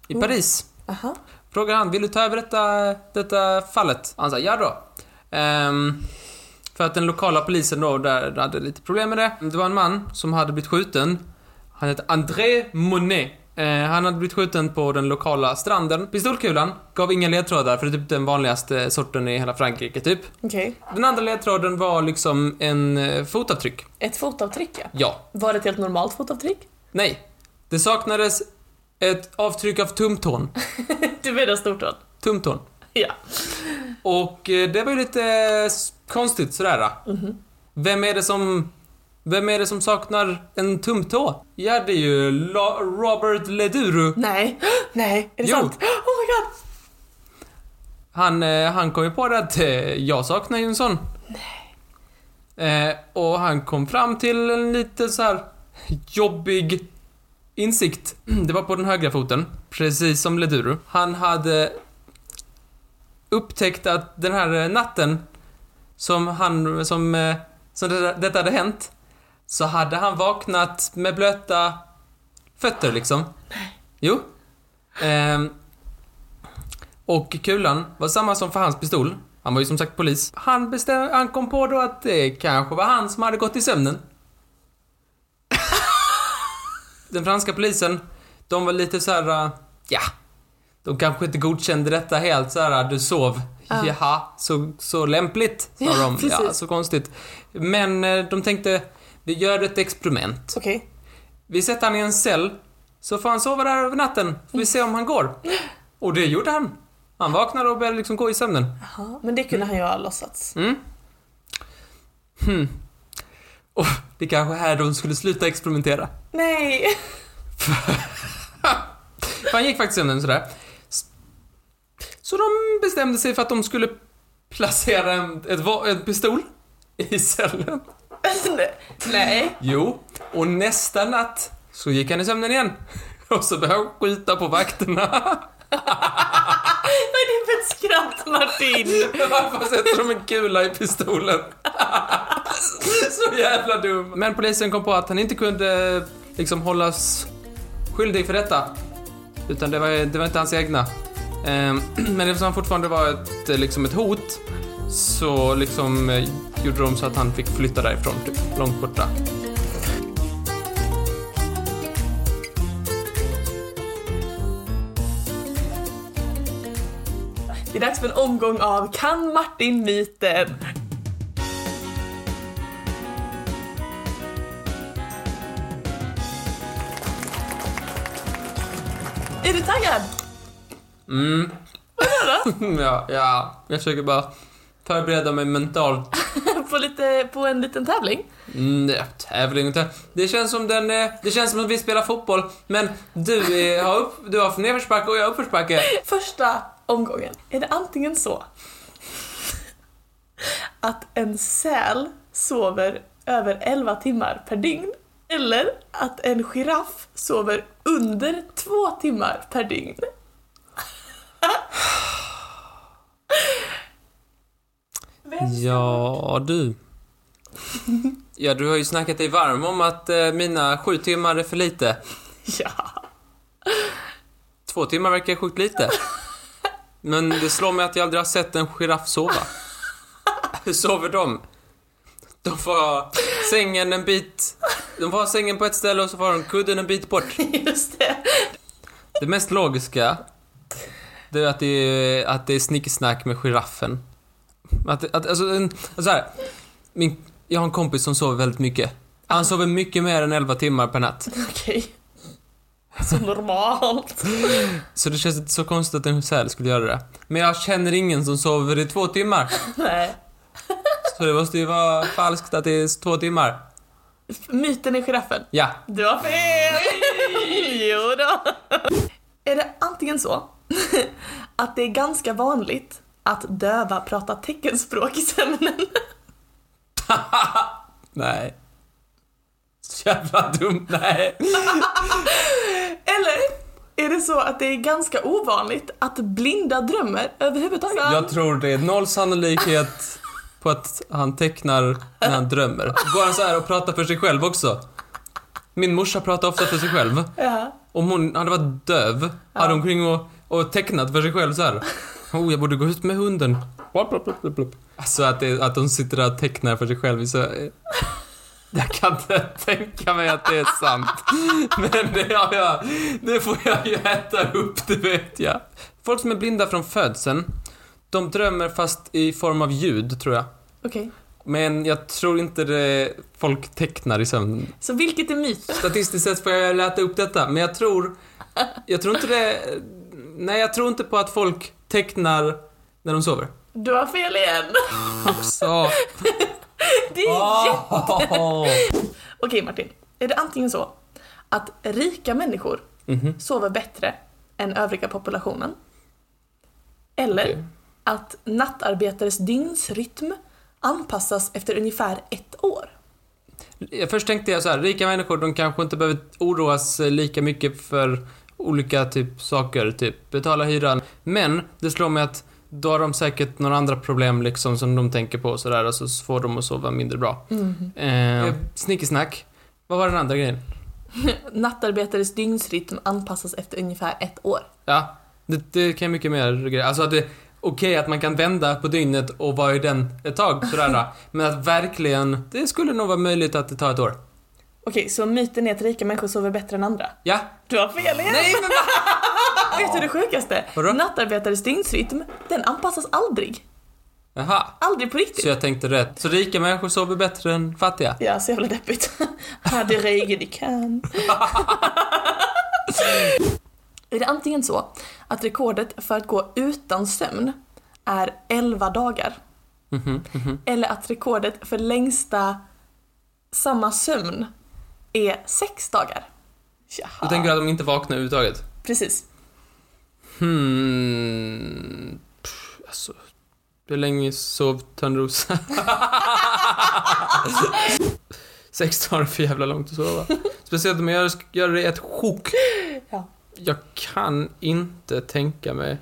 [SPEAKER 1] i
[SPEAKER 2] Mm.
[SPEAKER 1] Paris.
[SPEAKER 2] Aha.
[SPEAKER 1] Frågade han, vill du ta över detta, detta fallet? Han sa, ja då. Ehm, för att den lokala polisen då, där hade lite problem med det. Det var en man som hade blivit skjuten. Han hette André Monet. Eh, han hade blivit skjuten på den lokala stranden. Pistolkulan gav inga ledtrådar, för det är typ den vanligaste sorten i hela Frankrike, typ.
[SPEAKER 2] Okej.
[SPEAKER 1] Den andra ledtråden var liksom en eh, fotavtryck.
[SPEAKER 2] Ett fotavtryck ja.
[SPEAKER 1] Ja.
[SPEAKER 2] Var det ett helt normalt fotavtryck?
[SPEAKER 1] Nej. Det saknades ett avtryck av tumtån.
[SPEAKER 2] Du menar stortån?
[SPEAKER 1] Tumtån.
[SPEAKER 2] Ja.
[SPEAKER 1] Och eh, det var ju lite eh, s- konstigt sådär. Vem är det som... Vem är det som saknar en tumtå? Ja, det är ju La- Robert Leduru.
[SPEAKER 2] Nej. Nej. Är det
[SPEAKER 1] Jo.
[SPEAKER 2] sant? Oh my god.
[SPEAKER 1] Han, eh, han kom ju på det att eh, jag saknar ju en sån. Nej. Eh, och han kom fram till en lite så här jobbig insikt. Det var på den högra foten, precis som Leduru. Han hade upptäckt att den här eh, natten som han, som, eh, som det, detta hade hänt, så hade han vaknat med blöta fötter liksom. Jo. Ehm, och kulan var samma som för hans pistol. Han var ju som sagt polis. Han, bestäm- han kom på då att det kanske var han som hade gått i sömnen. Den franska polisen, de var lite så här, äh, ja, de kanske inte godkände detta helt så här, äh, du sov.
[SPEAKER 2] Ja.
[SPEAKER 1] Jaha, så, så lämpligt, sa
[SPEAKER 2] Ja,
[SPEAKER 1] de. Ja,
[SPEAKER 2] precis.
[SPEAKER 1] så konstigt. Men eh, de tänkte, vi gör ett experiment.
[SPEAKER 2] Okej.
[SPEAKER 1] Vi sätter han i en cell, så får han sova där över natten, får vi se om han går. Och det gjorde han. Han vaknade och började liksom gå i sömnen.
[SPEAKER 2] Jaha, Men det kunde han ju ha låtsats.
[SPEAKER 1] Mm. Hmm. Och det kanske är här de skulle sluta experimentera.
[SPEAKER 2] Nej.
[SPEAKER 1] För han gick faktiskt i sömnen sådär. S- Så de bestämde sig för att de skulle placera en, ett, va- en pistol i cellen.
[SPEAKER 2] Men nej.
[SPEAKER 1] Jo, och nästa natt så gick han i sömnen igen. Och så började han skjuta på vakterna.
[SPEAKER 2] Vad är det för ett skratt Martin?
[SPEAKER 1] Varför sätter de en kula i pistolen? så jävla dum. Men polisen kom på att han inte kunde liksom hållas skyldig för detta. Utan det var, det var inte hans egna. Ehm, Men eftersom han fortfarande var ett, liksom ett hot så liksom eh, gjorde de så att han fick flytta därifrån, typ, långt borta.
[SPEAKER 2] Det är dags för en omgång av Kan Martin myten? Är du taggad?
[SPEAKER 1] Mm. ja, ja, jag försöker bara förbereda mig mentalt
[SPEAKER 2] På, lite, på en liten tävling?
[SPEAKER 1] Mm, Nej, tävling och tävling. Det känns som den, eh, det känns som att vi spelar fotboll, men du eh, har upp, du har nedförsbacke och jag har uppförsbacke.
[SPEAKER 2] Första omgången är det antingen så att en säl sover över 11 timmar per dygn eller att en giraff sover under 2 timmar per dygn. Vem ska-
[SPEAKER 1] Ja, du. Ja, du har ju snackat dig varm om att eh, mina sju timmar är för lite.
[SPEAKER 2] Ja.
[SPEAKER 1] Två timmar verkar sjukt lite. Men det slår mig att jag aldrig har sett en giraff sova. Hur sover de? De får ha sängen en bit... De får ha sängen på ett ställe och så får de kudden en bit bort.
[SPEAKER 2] Just det.
[SPEAKER 1] Det mest logiska det är att det är, att det är snickesnack med giraffen. Att, att, alltså, en, alltså så här, min, jag har en kompis som sover väldigt mycket. Han sover mycket mer än 11 timmar per natt.
[SPEAKER 2] Okej. Så normalt.
[SPEAKER 1] Så det känns inte så konstigt att en säl skulle göra det. Men jag känner ingen som sover i två timmar.
[SPEAKER 2] Nej.
[SPEAKER 1] Så det måste ju vara falskt att det är två timmar.
[SPEAKER 2] Myten är giraffen.
[SPEAKER 1] Ja.
[SPEAKER 2] Du har fel! jo då. Är det antingen så att det är ganska vanligt att döva pratar teckenspråk i sömnen?
[SPEAKER 1] Nej. Så jävla dumt. Nej.
[SPEAKER 2] Eller är det så att det är ganska ovanligt att blinda drömmer överhuvudtaget?
[SPEAKER 1] Jag tror det är noll sannolikhet på att han tecknar när han drömmer. Går han så här och pratar för sig själv också? Min morsa pratar ofta för sig själv.
[SPEAKER 2] Ja.
[SPEAKER 1] Om hon hade varit döv hade hon kring och, och tecknat för sig själv så här. Oh, jag borde gå ut med hunden. Wap, wap, wap, wap, wap. Alltså att, det, att hon sitter där och tecknar för sig själv. Så, eh, jag kan inte tänka mig att det är sant. Men det, har jag, det får jag ju äta upp, det vet jag. Folk som är blinda från födseln, de drömmer fast i form av ljud, tror jag.
[SPEAKER 2] Okej,
[SPEAKER 1] Men jag tror inte det folk tecknar i sömnen.
[SPEAKER 2] så vilket är myt?
[SPEAKER 1] Statistiskt sett får jag läta upp detta, men jag tror... Jag tror inte det... Nej, jag tror inte på att folk tecknar när de sover.
[SPEAKER 2] Du har fel igen!
[SPEAKER 1] Så...
[SPEAKER 2] Det är
[SPEAKER 1] Ah.
[SPEAKER 2] jätte-
[SPEAKER 1] Oh.
[SPEAKER 2] Okej Martin, är det antingen så att rika människor
[SPEAKER 1] Mhm.
[SPEAKER 2] sover bättre än övriga populationen? Eller
[SPEAKER 1] Okej.
[SPEAKER 2] att nattarbetares dygnsrytm anpassas efter ungefär ett år?
[SPEAKER 1] Ja, Först tänkte jag så här, rika människor de kanske inte behöver oroas eh, lika mycket för olika typ saker, typ betala hyran. Men det slår mig att då har de säkert några andra problem liksom som de tänker på och sådär och så får de att sova mindre bra. Eh, snickesnack. Vad var den andra grejen?
[SPEAKER 2] Nattarbetares dygnsrytm anpassas efter ungefär ett år.
[SPEAKER 1] Ja, det, det kan ju mycket mer grejer. Alltså att det är okej att man kan vända på dygnet och vara i den ett tag sådär. då. Men att verkligen, det skulle nog vara möjligt att det tar ett år.
[SPEAKER 2] Okej, så myten är att rika människor sover bättre än andra?
[SPEAKER 1] Ja.
[SPEAKER 2] Du har fel igen!
[SPEAKER 1] Nej men va?
[SPEAKER 2] Vet du det sjukaste?
[SPEAKER 1] Vadå?
[SPEAKER 2] Nattarbetares dygnsrytm, den anpassas aldrig.
[SPEAKER 1] Jaha.
[SPEAKER 2] Aldrig på riktigt.
[SPEAKER 1] Så jag tänkte rätt. Så rika människor sover bättre än fattiga?
[SPEAKER 2] Ja, så jävla deppigt. Hade Reige de kan. är det antingen så att rekordet för att gå utan sömn är 11 dagar
[SPEAKER 1] Mhm, mhm.
[SPEAKER 2] eller att rekordet för längsta samma sömn är 6 dagar?
[SPEAKER 1] Du
[SPEAKER 2] Jaha.
[SPEAKER 1] tänker att de inte vaknar överhuvudtaget?
[SPEAKER 2] Precis.
[SPEAKER 1] Hmm... Pff, alltså... Hur länge sov Törnrosa? Sex dagar är för jävla långt att sova. Speciellt om jag ska göra det i ett sjok.
[SPEAKER 2] Ja.
[SPEAKER 1] Jag kan inte tänka mig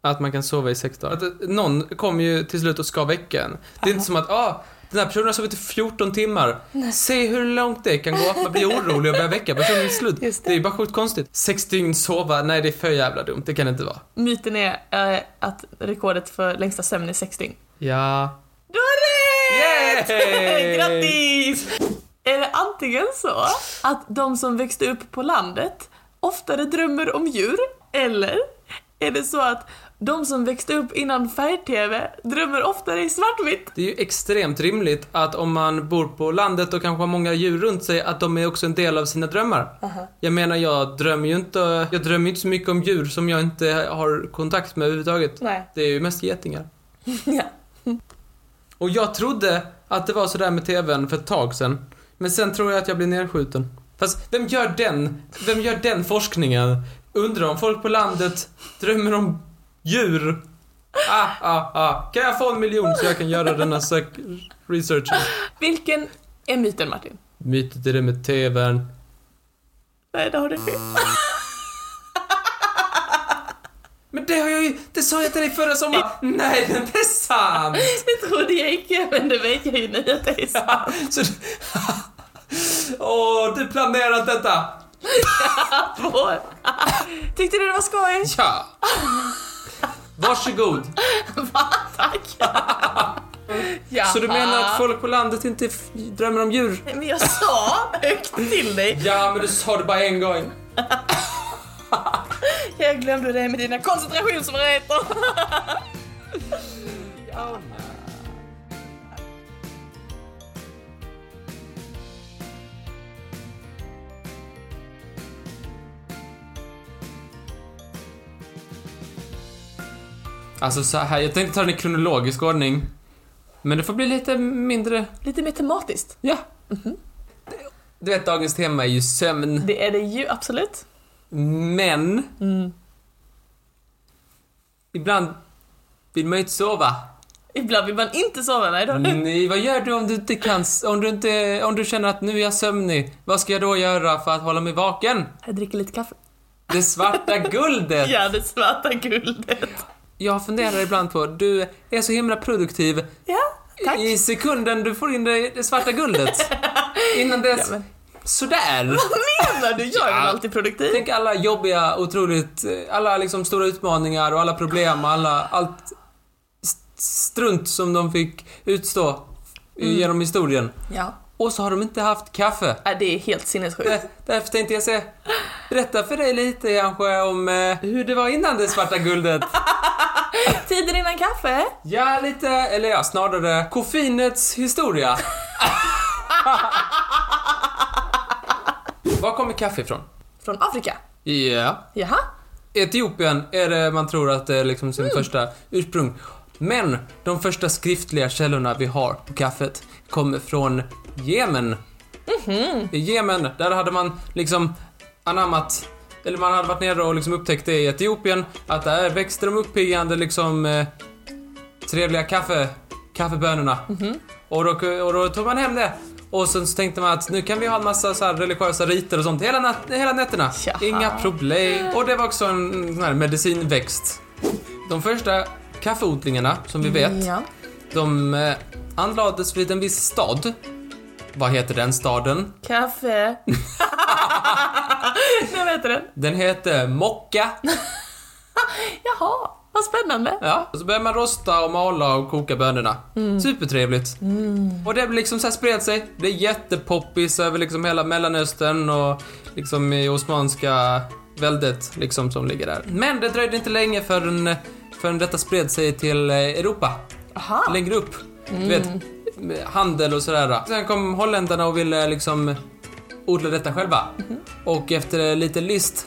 [SPEAKER 1] att man kan sova i sex dagar. Att eh, någon kommer ju till slut och ska väcka en. Det är inte som att, ah, den här personen har sovit i 14 timmar. Se hur långt det kan gå. Man blir orolig och börjar väcka personen till slut.
[SPEAKER 2] Just det.
[SPEAKER 1] är ju bara sjukt konstigt. Sex dygn sova, nej det är för jävla dumt. Det kan det inte vara.
[SPEAKER 2] Myten är eh, att rekordet för längsta sömn är sex dygn.
[SPEAKER 1] Ja.
[SPEAKER 2] Du har rätt!
[SPEAKER 1] Yay!
[SPEAKER 2] Grattis! Är det antingen så att de som växte upp på landet oftare drömmer om djur, eller är det så att de som växte upp innan färg-tv drömmer oftare i svartvitt?
[SPEAKER 1] Det är ju extremt rimligt att om man bor på landet och kanske har många djur runt sig, att de är också en del av sina drömmar. Jag menar, jag drömmer ju inte, jag drömmer ju inte så mycket om djur som jag inte har kontakt med överhuvudtaget.
[SPEAKER 2] Nej.
[SPEAKER 1] Det är ju mest getingar.
[SPEAKER 2] Ja.
[SPEAKER 1] Och jag trodde att det var sådär med TVn för ett tag sedan. Men sen tror jag att jag blev nedskjuten. Fast vem gör den, vem gör den forskningen? Undrar om folk på landet drömmer om djur? Ah, ah, ah. Kan jag få en miljon så jag kan göra den här sök- researchen?
[SPEAKER 2] Vilken är myten Martin?
[SPEAKER 1] Mytet är det med TVn.
[SPEAKER 2] Nej, det har du fel.
[SPEAKER 1] Men det har jag ju, det sa jag till dig förra sommaren. Nej, det är inte sant!
[SPEAKER 2] Det trodde jag inte, men det verkar ju nu att det är sant.
[SPEAKER 1] Så, åh, du planerat detta?
[SPEAKER 2] Vår. Tyckte du det var skoj?
[SPEAKER 1] Ja. Varsågod.
[SPEAKER 2] Va? Tack!
[SPEAKER 1] Så du menar
[SPEAKER 2] Jaha.
[SPEAKER 1] att folk på landet inte f- drömmer om djur?
[SPEAKER 2] Men jag sa högt till dig.
[SPEAKER 1] Ja, men du sa det bara en gång.
[SPEAKER 2] Jag glömde det med dina koncentrationssvårigheter.
[SPEAKER 1] Alltså så här, jag tänkte ta den i kronologisk ordning. Men det får bli lite mindre...
[SPEAKER 2] Lite mer tematiskt.
[SPEAKER 1] Ja. Du vet, dagens tema är ju sömn.
[SPEAKER 2] Det är det ju absolut.
[SPEAKER 1] Men... Ibland vill man ju inte sova.
[SPEAKER 2] Ibland vill man inte sova. Nej, då.
[SPEAKER 1] Nej, Mm, vad gör du om du inte kan... s- Om du, inte, om du känner att nu är jag sömnig, vad ska jag då göra för att hålla mig vaken?
[SPEAKER 2] Jag dricker lite kaffe.
[SPEAKER 1] Det svarta guldet!
[SPEAKER 2] Ja, det svarta guldet.
[SPEAKER 1] Jag funderar ibland på, du är så himla produktiv
[SPEAKER 2] Ja, tack.
[SPEAKER 1] i sekunden du får in det, det svarta guldet. Innan dess,
[SPEAKER 2] Ja, men-
[SPEAKER 1] sådär.
[SPEAKER 2] Vad menar du? Jag är väl
[SPEAKER 1] Ja.
[SPEAKER 2] alltid produktiv?
[SPEAKER 1] Tänk alla jobbiga, otroligt, eh, alla liksom stora utmaningar och alla problem och alla, allt st- strunt som de fick utstå i-
[SPEAKER 2] Mm.
[SPEAKER 1] genom historien.
[SPEAKER 2] Ja.
[SPEAKER 1] Och så har de inte haft kaffe.
[SPEAKER 2] Nej, Det är helt sinnessjukt.
[SPEAKER 1] Där- Därför tänkte jag se, berätta för dig lite kanske om eh, hur det var innan det svarta guldet.
[SPEAKER 2] Tiden innan kaffe?
[SPEAKER 1] Ja, lite, eller ja, snarare koffeinets historia. Var kommer kaffe ifrån?
[SPEAKER 2] Från Afrika.
[SPEAKER 1] Ja.
[SPEAKER 2] Jaha.
[SPEAKER 1] Etiopien är det man tror att det är liksom sin första ursprung. Men de första skriftliga källorna vi har på kaffet kommer från Jemen. I Jemen, där hade man liksom anammat, eller man hade varit nere och liksom upptäckt det i Etiopien, att där växte de uppiggande liksom eh, trevliga kaffe, kaffebönorna.
[SPEAKER 2] Mhm.
[SPEAKER 1] Och, då, och då tog man hem det. Och sen så tänkte man att nu kan vi ha en massa så här religiösa riter och sånt hela, nat- hela nätterna.
[SPEAKER 2] Jaha.
[SPEAKER 1] Inga problem. Och det var också en sån här medicinväxt. De första kaffeodlingarna som vi vet,
[SPEAKER 2] Mm, Ja.
[SPEAKER 1] de eh, anlades vid en viss stad. Vad heter den staden?
[SPEAKER 2] Kaffe. Nu vet du den.
[SPEAKER 1] Den heter Mocka.
[SPEAKER 2] Jaha, vad spännande.
[SPEAKER 1] Ja. Och så började man rosta och mala och koka bönorna. Supertrevligt. Och det liksom så här spred sig. Det är jättepoppis över liksom hela Mellanöstern och liksom i Osmanska väldet liksom som ligger där. Men det dröjde inte länge förrän, förrän detta spred sig till eh, Europa.
[SPEAKER 2] Aha.
[SPEAKER 1] Längre upp. Du vet, med handel och sådär. Sen kom holländarna och ville liksom odla detta själva. Och efter lite list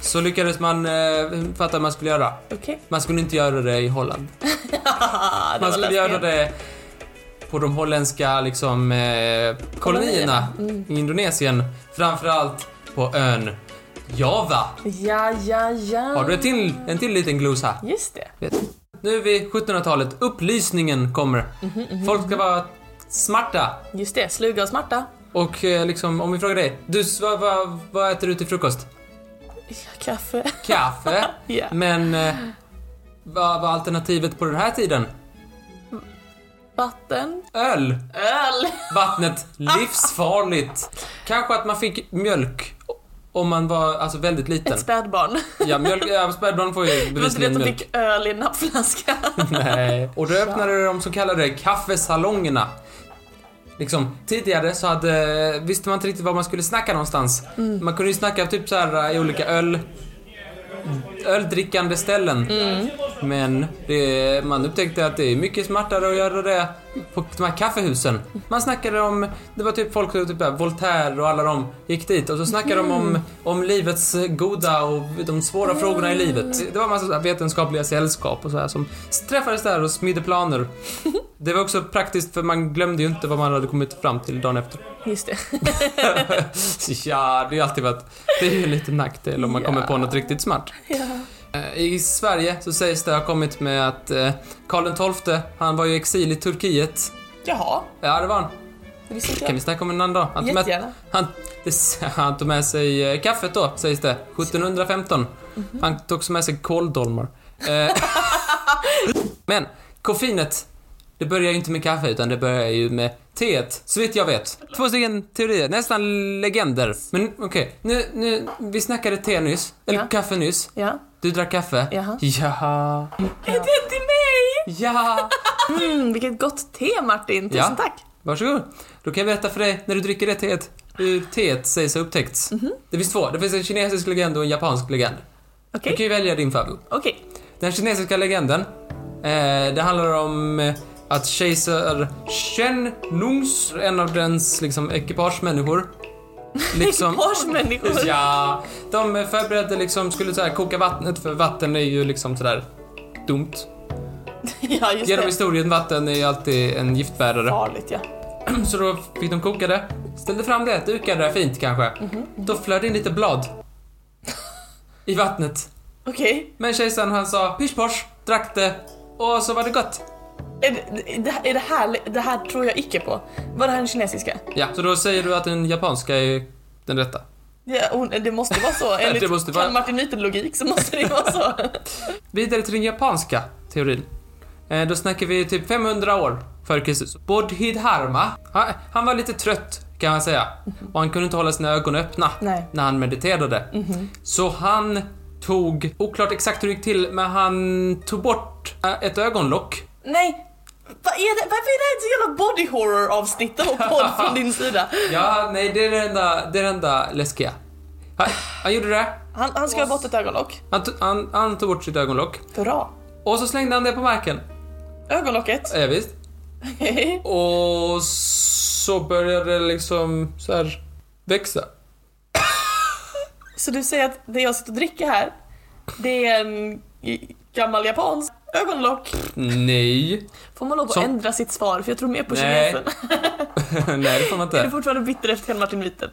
[SPEAKER 1] så lyckades man eh, fatta vad man skulle göra.
[SPEAKER 2] Okej.
[SPEAKER 1] Man skulle inte göra det i Holland.
[SPEAKER 2] Haha,
[SPEAKER 1] Man
[SPEAKER 2] det var
[SPEAKER 1] skulle
[SPEAKER 2] läskigt.
[SPEAKER 1] göra det på de holländska liksom, eh, kolonierna i Indonesien. Framförallt på ön Java.
[SPEAKER 2] Ja, ja, ja.
[SPEAKER 1] Har du en till, en till liten glosa?
[SPEAKER 2] Just det.
[SPEAKER 1] Nu är vi 1700-talet. Upplysningen kommer. Folk ska vara Smarta!
[SPEAKER 2] Just det, sluga och smarta.
[SPEAKER 1] Och eh, liksom, om vi frågar dig. Du, s- vad, vad, vad äter du till frukost?
[SPEAKER 2] Ja, kaffe.
[SPEAKER 1] Kaffe.
[SPEAKER 2] Ja.
[SPEAKER 1] Men eh, vad var alternativet på den här tiden?
[SPEAKER 2] Vatten.
[SPEAKER 1] Öl!
[SPEAKER 2] Öl.
[SPEAKER 1] Vattnet, livsfarligt! Kanske att man fick mjölk om man var alltså väldigt liten.
[SPEAKER 2] Ett spädbarn.
[SPEAKER 1] Ja, mjölk, ja, spädbarn får ju
[SPEAKER 2] Det var inte det att
[SPEAKER 1] bevisligen
[SPEAKER 2] de
[SPEAKER 1] mjölk.
[SPEAKER 2] fick öl i en nappflaska.
[SPEAKER 1] Nej. Och då öppnade de så kallade kaffesalongerna. Liksom, tidigare så hade, visste man inte riktigt var man skulle snacka någonstans.
[SPEAKER 2] Mm.
[SPEAKER 1] Man kunde ju snacka typ så här i olika öl öldrickande ställen.
[SPEAKER 2] Mm.
[SPEAKER 1] Men det, man upptäckte att det är mycket smartare att göra det på de här kaffehusen. Man snackade om, det var typ folk, typ där, Voltaire och alla de gick dit och så snackade de om, om livets goda och de svåra frågorna i livet. Det var en massa så här vetenskapliga sällskap och så här som träffades där och smidde planer. Det var också praktiskt för man glömde ju inte vad man hade kommit fram till dagen efter.
[SPEAKER 2] Just det.
[SPEAKER 1] ja, det har ju alltid varit, det är ju en liten nackdel om man kommer på något riktigt smart.
[SPEAKER 2] Ja.
[SPEAKER 1] Eh, I Sverige så sägs det ha kommit med att eh, Karl XII, han var ju i exil i Turkiet.
[SPEAKER 2] Jaha,
[SPEAKER 1] Ja, det var han.
[SPEAKER 2] det visste inte
[SPEAKER 1] Kan vi
[SPEAKER 2] jag.
[SPEAKER 1] snacka om en annan dag? Han tog med,
[SPEAKER 2] Jättegärna.
[SPEAKER 1] han, det, s- han tog med sig eh, kaffet då, sägs det. 1715.
[SPEAKER 2] Mhm.
[SPEAKER 1] Han tog också med sig kåldolmar. Eh, Men, koffeinet, det börjar ju inte med kaffe utan det börjar ju med teet, så vitt jag vet. Två stycken teorier, nästan legender. Men okej, nu, nu, vi snackade te nyss, eller
[SPEAKER 2] Ja.
[SPEAKER 1] kaffe nyss.
[SPEAKER 2] Ja.
[SPEAKER 1] Du drack kaffe.
[SPEAKER 2] Jaha.
[SPEAKER 1] Ja.
[SPEAKER 2] Är det till mig?
[SPEAKER 1] Ja!
[SPEAKER 2] Mm, vilket gott te Martin, tusen
[SPEAKER 1] Ja.
[SPEAKER 2] tack.
[SPEAKER 1] Varsågod. Då kan jag berätta för dig när du dricker det teet hur teet sägs ha upptäckts.
[SPEAKER 2] Mhm.
[SPEAKER 1] Det finns två. Det finns en kinesisk legend och en japansk legend.
[SPEAKER 2] Okej,
[SPEAKER 1] Du kan ju välja din favorit.
[SPEAKER 2] okej.
[SPEAKER 1] Den kinesiska legenden, eh, det handlar om eh, att kejsar Shen Nungs, en av dens liksom ekipagemänniskor, liksom...
[SPEAKER 2] Ekipage-människor.
[SPEAKER 1] Ja, de förberedde liksom, skulle så här koka vattnet för vatten är ju liksom sådär dumt.
[SPEAKER 2] Ja, just
[SPEAKER 1] Genom
[SPEAKER 2] det.
[SPEAKER 1] historien, vatten är ju alltid en giftbärare.
[SPEAKER 2] Farligt ja.
[SPEAKER 1] Så då fick de koka det, ställde fram det, dukade det fint kanske. Då flöt in lite blad i vattnet.
[SPEAKER 2] Okej.
[SPEAKER 1] Men kejsaren han sa pish posh, drack det och så var det gott.
[SPEAKER 2] Är det, det, här- är det, här, det här tror jag icke på. Var det här den kinesiska?
[SPEAKER 1] Ja, så då säger du att den japanska är den rätta.
[SPEAKER 2] Ja, hon, det måste vara så. Enligt
[SPEAKER 1] Det måste vara-
[SPEAKER 2] Karl Martin Myten-logik så måste det vara så.
[SPEAKER 1] Vidare till den japanska teorin. Eh, då snackar vi typ 500 år före Kristus. Bodhidharma, han, han var lite trött kan man säga. Och han kunde inte hålla sina ögon öppna
[SPEAKER 2] Nej.
[SPEAKER 1] när han mediterade. Så han tog, oklart exakt hur det gick till, men han tog bort eh, ett ögonlock.
[SPEAKER 2] Nej! Vad är det? Varför är det här ett så jävla body horror avsnitt och podd från din sida?
[SPEAKER 1] Ja, nej det är det enda, det är det enda läskiga. Han, han gjorde det.
[SPEAKER 2] Han, han ska ha bort ett ögonlock.
[SPEAKER 1] Han, tog- han, han tog bort sitt ögonlock.
[SPEAKER 2] Hurra!
[SPEAKER 1] Och så slängde han det på marken.
[SPEAKER 2] Ögonlocket.
[SPEAKER 1] Ja, visst. Och så började det liksom så här växa.
[SPEAKER 2] Så du säger att det jag sitter och dricker här, det är en gammal japansk ögonlock?
[SPEAKER 1] Nej.
[SPEAKER 2] Får man lov att
[SPEAKER 1] Som-
[SPEAKER 2] ändra sitt svar? För jag tror mer på
[SPEAKER 1] Nej.
[SPEAKER 2] kinesen.
[SPEAKER 1] Nej, det får man
[SPEAKER 2] Är du
[SPEAKER 1] inte.
[SPEAKER 2] fortfarande bitter efter Karl Martin Myten?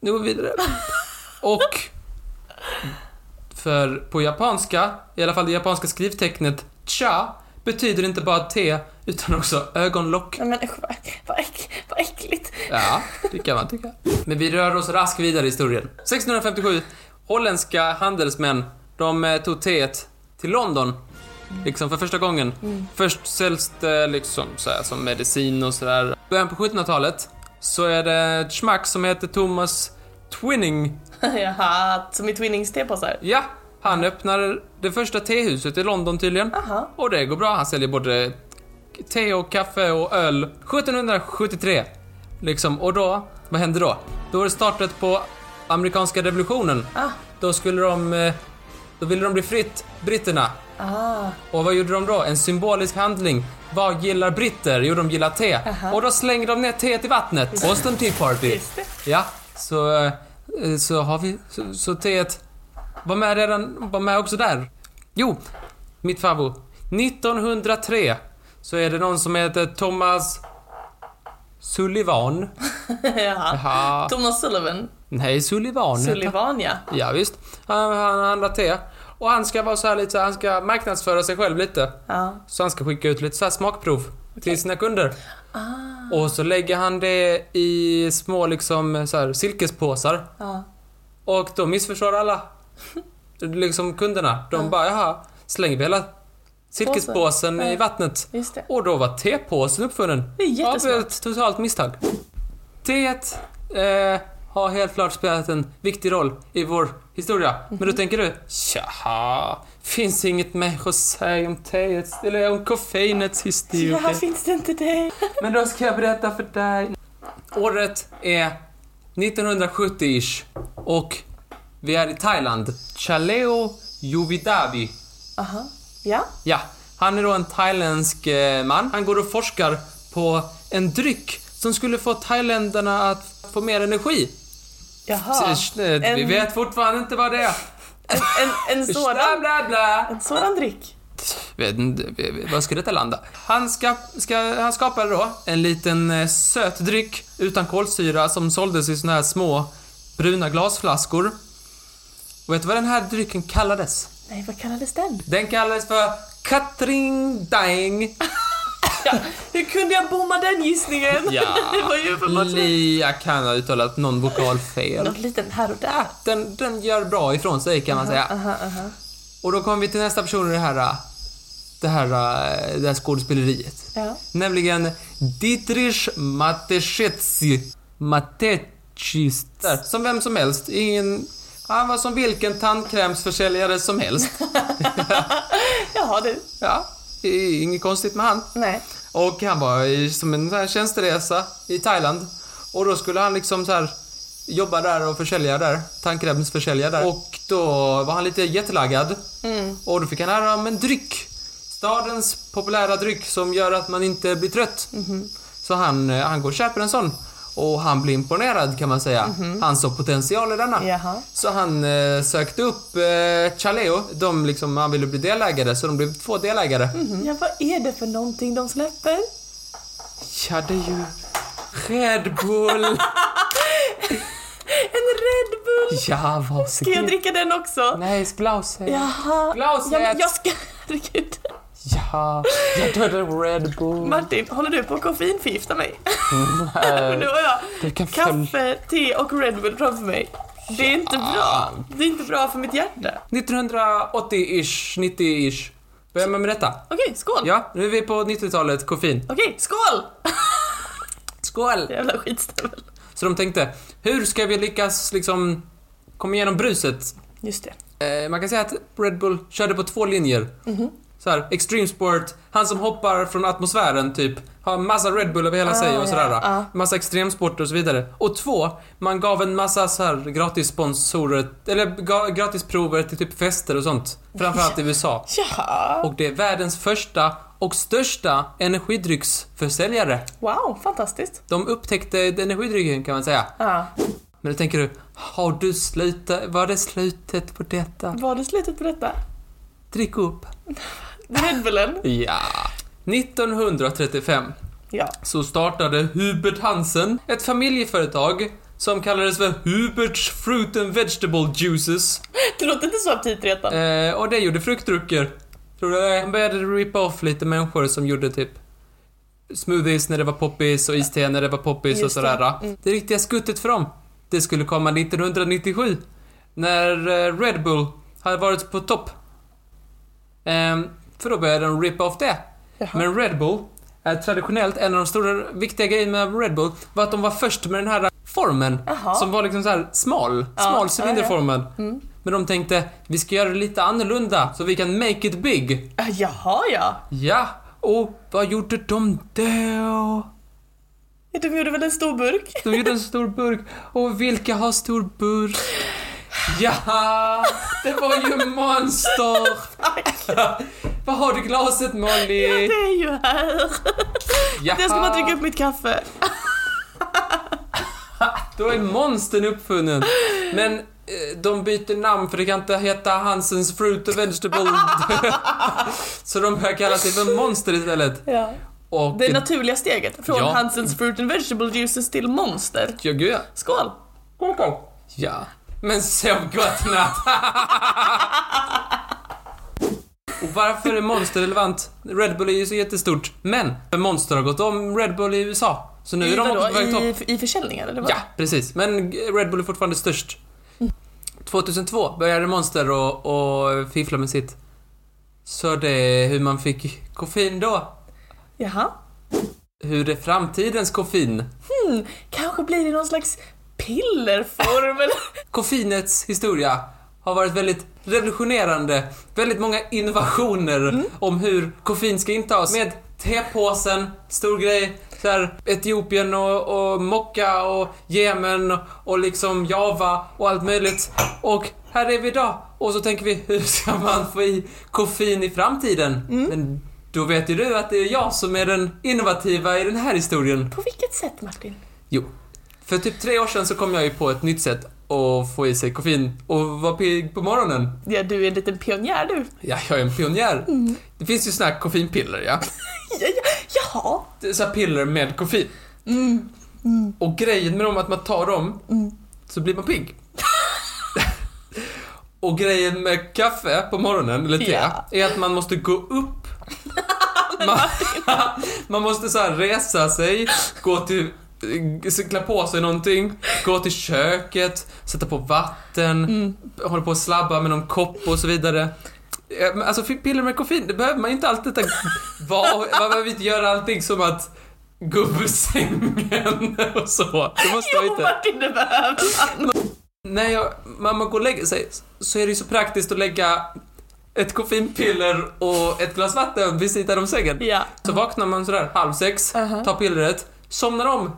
[SPEAKER 1] Nu går vi vidare. Och... För på japanska, i alla fall det japanska skrivtecknet cha, betyder inte bara te, utan också ögonlock.
[SPEAKER 2] Nej men usch vad, vad, äck, vad äckligt.
[SPEAKER 1] Ja, det kan man tycka. Men vi rör oss raskt vidare i historien. 1657, holländska handelsmän, de eh, tog teet till London. Liksom för första gången. Först säljs det liksom så här, som medicin och sådär. Början på 1700-talet så är det ett schmack som heter Thomas Twinning.
[SPEAKER 2] Jaha, som i Twinnings tepåsar.
[SPEAKER 1] Ja, han öppnar det första tehuset i London tydligen.
[SPEAKER 2] Jaha.
[SPEAKER 1] Och det går bra. Han säljer både te och kaffe och öl. 1773. Liksom, och då, vad hände då? Då var det startet på amerikanska revolutionen.
[SPEAKER 2] Ah.
[SPEAKER 1] Då skulle de, eh, då ville de bli fritt, britterna.
[SPEAKER 2] Ah.
[SPEAKER 1] Och vad gjorde de då? En symbolisk handling. Vad gillar britter? Jo, de gillar te. Och då slängde de ner teet i vattnet. Boston Tea Party.
[SPEAKER 2] Just det.
[SPEAKER 1] Ja, så, eh, så har vi... Så, så teet var med redan... Var med också där. Jo, mitt favvo. 1903 så är det någon som heter Thomas Sullivan.
[SPEAKER 2] Jaha.
[SPEAKER 1] Jaha.
[SPEAKER 2] Thomas Sullivan.
[SPEAKER 1] Nej, Sullivan. heter han.
[SPEAKER 2] Sullivan ja.
[SPEAKER 1] Ja, visst. Han, han handlar te. Och han ska vara så här lite, han ska marknadsföra sig själv lite.
[SPEAKER 2] Ja.
[SPEAKER 1] Så han ska skicka ut lite så här smakprov. till sina kunder.
[SPEAKER 2] Ah,
[SPEAKER 1] Och så lägger han det i små liksom så här, silkespåsar.
[SPEAKER 2] ja.
[SPEAKER 1] Och då missförstår alla. liksom kunderna. De
[SPEAKER 2] Ja.
[SPEAKER 1] bara, jaha, slänger vi hela silkespåsen
[SPEAKER 2] Påsen.
[SPEAKER 1] i
[SPEAKER 2] Ja.
[SPEAKER 1] vattnet?
[SPEAKER 2] Just det.
[SPEAKER 1] Och då var tepåsen uppfunnen.
[SPEAKER 2] Det är
[SPEAKER 1] Ja,
[SPEAKER 2] jättesmart.
[SPEAKER 1] ett totalt misstag. Det eh, har helt klart spelat en viktig roll i vår historia. Men då
[SPEAKER 2] Mhm.
[SPEAKER 1] tänker du, tjaha, finns inget mer att säga om teets, eller om koffeinets historia.
[SPEAKER 2] Ja, finns det inte det?
[SPEAKER 1] Men då ska jag berätta för dig. Året är 1970-ish och vi är i Thailand. Chaleo Yuvidavi.
[SPEAKER 2] Aha. Ja.
[SPEAKER 1] Ja, han är då en thailändsk eh, man. Han går och forskar på en dryck som skulle få thailändarna att få mer energi.
[SPEAKER 2] Jaha.
[SPEAKER 1] Så, eh, Vi
[SPEAKER 2] en-
[SPEAKER 1] vet fortfarande inte vad det är.
[SPEAKER 2] En, en, en
[SPEAKER 1] Bla,
[SPEAKER 2] sådan.
[SPEAKER 1] bla, bla.
[SPEAKER 2] En sådan dryck.
[SPEAKER 1] Vet inte, vi- vi- Var ska detta landa? Han, ska, ska, han skapade då en liten eh, söt dryck utan kolsyra som såldes i såna här små bruna glasflaskor. Och vet du vad den här drycken kallades?
[SPEAKER 2] Nej, vad kallades den?
[SPEAKER 1] Den kallades för Katring Daing
[SPEAKER 2] Ja. Hur kunde jag bomma den gissningen?
[SPEAKER 1] Ja.
[SPEAKER 2] det var ju uppenbart.
[SPEAKER 1] Lia kan ha uttalat någon vokal fel.
[SPEAKER 2] Någon liten här och där.
[SPEAKER 1] Den, den gör bra ifrån sig kan man säga.
[SPEAKER 2] Aha, aha.
[SPEAKER 1] Och då kommer vi till nästa person i det här, äh, det här, äh, det här skådespeleriet.
[SPEAKER 2] Ja.
[SPEAKER 1] Nämligen Dietrich Mateschitzi. Mateschitz. Där, Som vem som helst. Ingen, han var som vilken tandkrämsförsäljare som helst.
[SPEAKER 2] Jaha du.
[SPEAKER 1] Ja, det är inget konstigt med han.
[SPEAKER 2] Nej.
[SPEAKER 1] Och han var i, som en sån här tjänsteresa i Thailand. Och då skulle han liksom så här jobba där och försälja där. Tandkrämsförsälja där. Och då var han lite jetlaggad. Och då fick han höra om en dryck. Stadens populära dryck som gör att man inte blir trött. Så han, eh, han går och köper en sån. Och han blir imponerad kan man säga. Han såg potential i denna.
[SPEAKER 2] Jaha.
[SPEAKER 1] Så han eh, sökte upp eh, Chaleo. De liksom, han ville bli delägare så de blev två delägare.
[SPEAKER 2] Ja, vad är det för någonting de släpper?
[SPEAKER 1] Ja, det är ju Red Bull.
[SPEAKER 2] En Red Bull!
[SPEAKER 1] Ja,
[SPEAKER 2] Ska jag
[SPEAKER 1] varsågod.
[SPEAKER 2] dricka den också?
[SPEAKER 1] Nej, Sklause. Ja.
[SPEAKER 2] Jaha.
[SPEAKER 1] Glaset.
[SPEAKER 2] Ja, men jag ska... Herregud.
[SPEAKER 1] ja, jag dödade Red Bull.
[SPEAKER 2] Martin, håller du på att koffeinförgifta mig? Och nu har jag
[SPEAKER 1] Du kan följa...
[SPEAKER 2] kaffe, te och Red Bull framför mig. Det är inte bra. Det är inte bra för mitt hjärta.
[SPEAKER 1] 1980-ish, 90-ish. Börjar man med detta?
[SPEAKER 2] Okej, skål!
[SPEAKER 1] Ja, nu är vi på 90-talet, koffein.
[SPEAKER 2] Okej, skål!
[SPEAKER 1] Skål!
[SPEAKER 2] Jävla skitstövel.
[SPEAKER 1] Så de tänkte, hur ska vi lyckas liksom komma igenom bruset?
[SPEAKER 2] Just det.
[SPEAKER 1] Eh, man kan säga att Red Bull körde på två linjer.
[SPEAKER 2] Mhm.
[SPEAKER 1] Så här, extreme sport, han som hoppar från atmosfären typ, har massa Red Bull över hela
[SPEAKER 2] Ah,
[SPEAKER 1] sig
[SPEAKER 2] ja,
[SPEAKER 1] och sådär.
[SPEAKER 2] ja.
[SPEAKER 1] Massa extremsporter och så vidare. Och två, man gav en massa så här gratis sponsorer, eller ga- gratis prover till typ fester och sånt. Framförallt i USA.
[SPEAKER 2] Jaha.
[SPEAKER 1] Och det är världens första och största energidrycksförsäljare.
[SPEAKER 2] Wow, fantastiskt. Ah,
[SPEAKER 1] De upptäckte energidrycken kan man säga.
[SPEAKER 2] Ja.
[SPEAKER 1] Men då tänker du, har du slutat, var det slutet på detta?
[SPEAKER 2] Var det slutet på detta?
[SPEAKER 1] Drick upp.
[SPEAKER 2] Red Bullen?
[SPEAKER 1] Ja. 1935
[SPEAKER 2] Ja.
[SPEAKER 1] så startade Hubert Hansen ett familjeföretag som kallades för Huberts Fruit and Vegetable Juices.
[SPEAKER 2] Det låter inte så aptitretande.
[SPEAKER 1] Eh, och det gjorde fruktdrycker. Tror du det? Han började rippa off lite människor som gjorde typ smoothies när det var poppis och iste när det var poppis och
[SPEAKER 2] Just det. Mm.
[SPEAKER 1] sådär. Det. riktiga skuttet för dem, det skulle komma 1997. När eh, Red Bull hade varit på topp. Ehm, för då började de rippa off det.
[SPEAKER 2] Jaha.
[SPEAKER 1] Men Red Bull, är traditionellt, en av de stora viktiga grejerna med Red Bull var att de var först med den här formen.
[SPEAKER 2] Jaha.
[SPEAKER 1] Som var liksom så här smal,
[SPEAKER 2] Ja, ja,
[SPEAKER 1] smal
[SPEAKER 2] ja. Mm.
[SPEAKER 1] cylinderformen. Men de tänkte, vi ska göra det lite annorlunda så vi kan make it big.
[SPEAKER 2] Ah, Jaha, ja.
[SPEAKER 1] Ja, och vad gjorde de då?
[SPEAKER 2] Ja, De gjorde väl en stor burk?
[SPEAKER 1] De gjorde en stor burk. Och vilka har stor burk? Ja, det var ju Monster! Vad har du i glaset Molly?
[SPEAKER 2] Det är ju här.
[SPEAKER 1] Ja,
[SPEAKER 2] Jag ska bara dricka upp mitt kaffe.
[SPEAKER 1] Då är Monstern uppfunnen. Men eh, de byter namn för det kan inte heta Hansens Fruit and Vegetable. Så de börjar kalla sig för Monster istället.
[SPEAKER 2] Ja.
[SPEAKER 1] Och...
[SPEAKER 2] Det naturliga steget från
[SPEAKER 1] Ja.
[SPEAKER 2] Hansens Fruit and Vegetable Juices till Monster.
[SPEAKER 1] Ja, gud ja.
[SPEAKER 2] Skål!
[SPEAKER 1] Ja. Men sov gott natt. Och varför är Monster relevant? Red Bull är ju så jättestort. Men, för Monster har gått om Red Bull i USA. Så nu är
[SPEAKER 2] I,
[SPEAKER 1] de också på
[SPEAKER 2] vadå,
[SPEAKER 1] väg topp.
[SPEAKER 2] i, I försäljningar eller vad?
[SPEAKER 1] Ja, precis. Men Red Bull är fortfarande störst. 2002 började Monster och, och fiffla med sitt. Så det är hur man fick koffein då.
[SPEAKER 2] Jaha.
[SPEAKER 1] Hur är framtidens koffein?
[SPEAKER 2] Hmm, kanske blir det någon slags pillerform eller?
[SPEAKER 1] Koffeinets historia har varit väldigt revolutionerande. Väldigt många innovationer om hur koffein ska intas. Med tepåsen, stor grej. Så här, Etiopien och, och Mokka och Jemen och, och liksom Java och allt möjligt. Och här är vi idag. Och så tänker vi, hur ska man få i koffein i framtiden? Men då vet ju du att det är jag som är den innovativa i den här historien.
[SPEAKER 2] På vilket sätt Martin?
[SPEAKER 1] Jo. För typ tre år sedan så kom jag ju på ett nytt sätt att få i sig koffein och vara pigg på morgonen.
[SPEAKER 2] Ja, du är en liten pionjär du.
[SPEAKER 1] Ja, jag är en pionjär. Det finns ju såna här koffeinpiller, ja.
[SPEAKER 2] Ja, ja, jaha.
[SPEAKER 1] Det är så här piller med koffein. Och grejen med dem är att man tar dem så blir man pigg. och grejen med kaffe på morgonen, eller te,
[SPEAKER 2] Ja.
[SPEAKER 1] är att man måste gå upp. man, man måste så här resa sig, gå till eh, klä på sig någonting, gå till köket, sätta på vatten, hålla på och slabba med någon kopp och så vidare. Eh, men Alltså piller med koffein, det behöver man ju inte alltid tänka. Va- Man behöver inte göra allting som att gå upp ur sängen och så. Det måste man
[SPEAKER 2] Jo
[SPEAKER 1] inte.
[SPEAKER 2] Martin, det behöver man.
[SPEAKER 1] När jag, mamma går och lägger sig så är det ju så praktiskt att lägga ett koffeinpiller och ett glas vatten vid sidan om sängen.
[SPEAKER 2] Ja.
[SPEAKER 1] Så vaknar man sådär halv sex,
[SPEAKER 2] Uh-huh.
[SPEAKER 1] tar pillret, somnar om.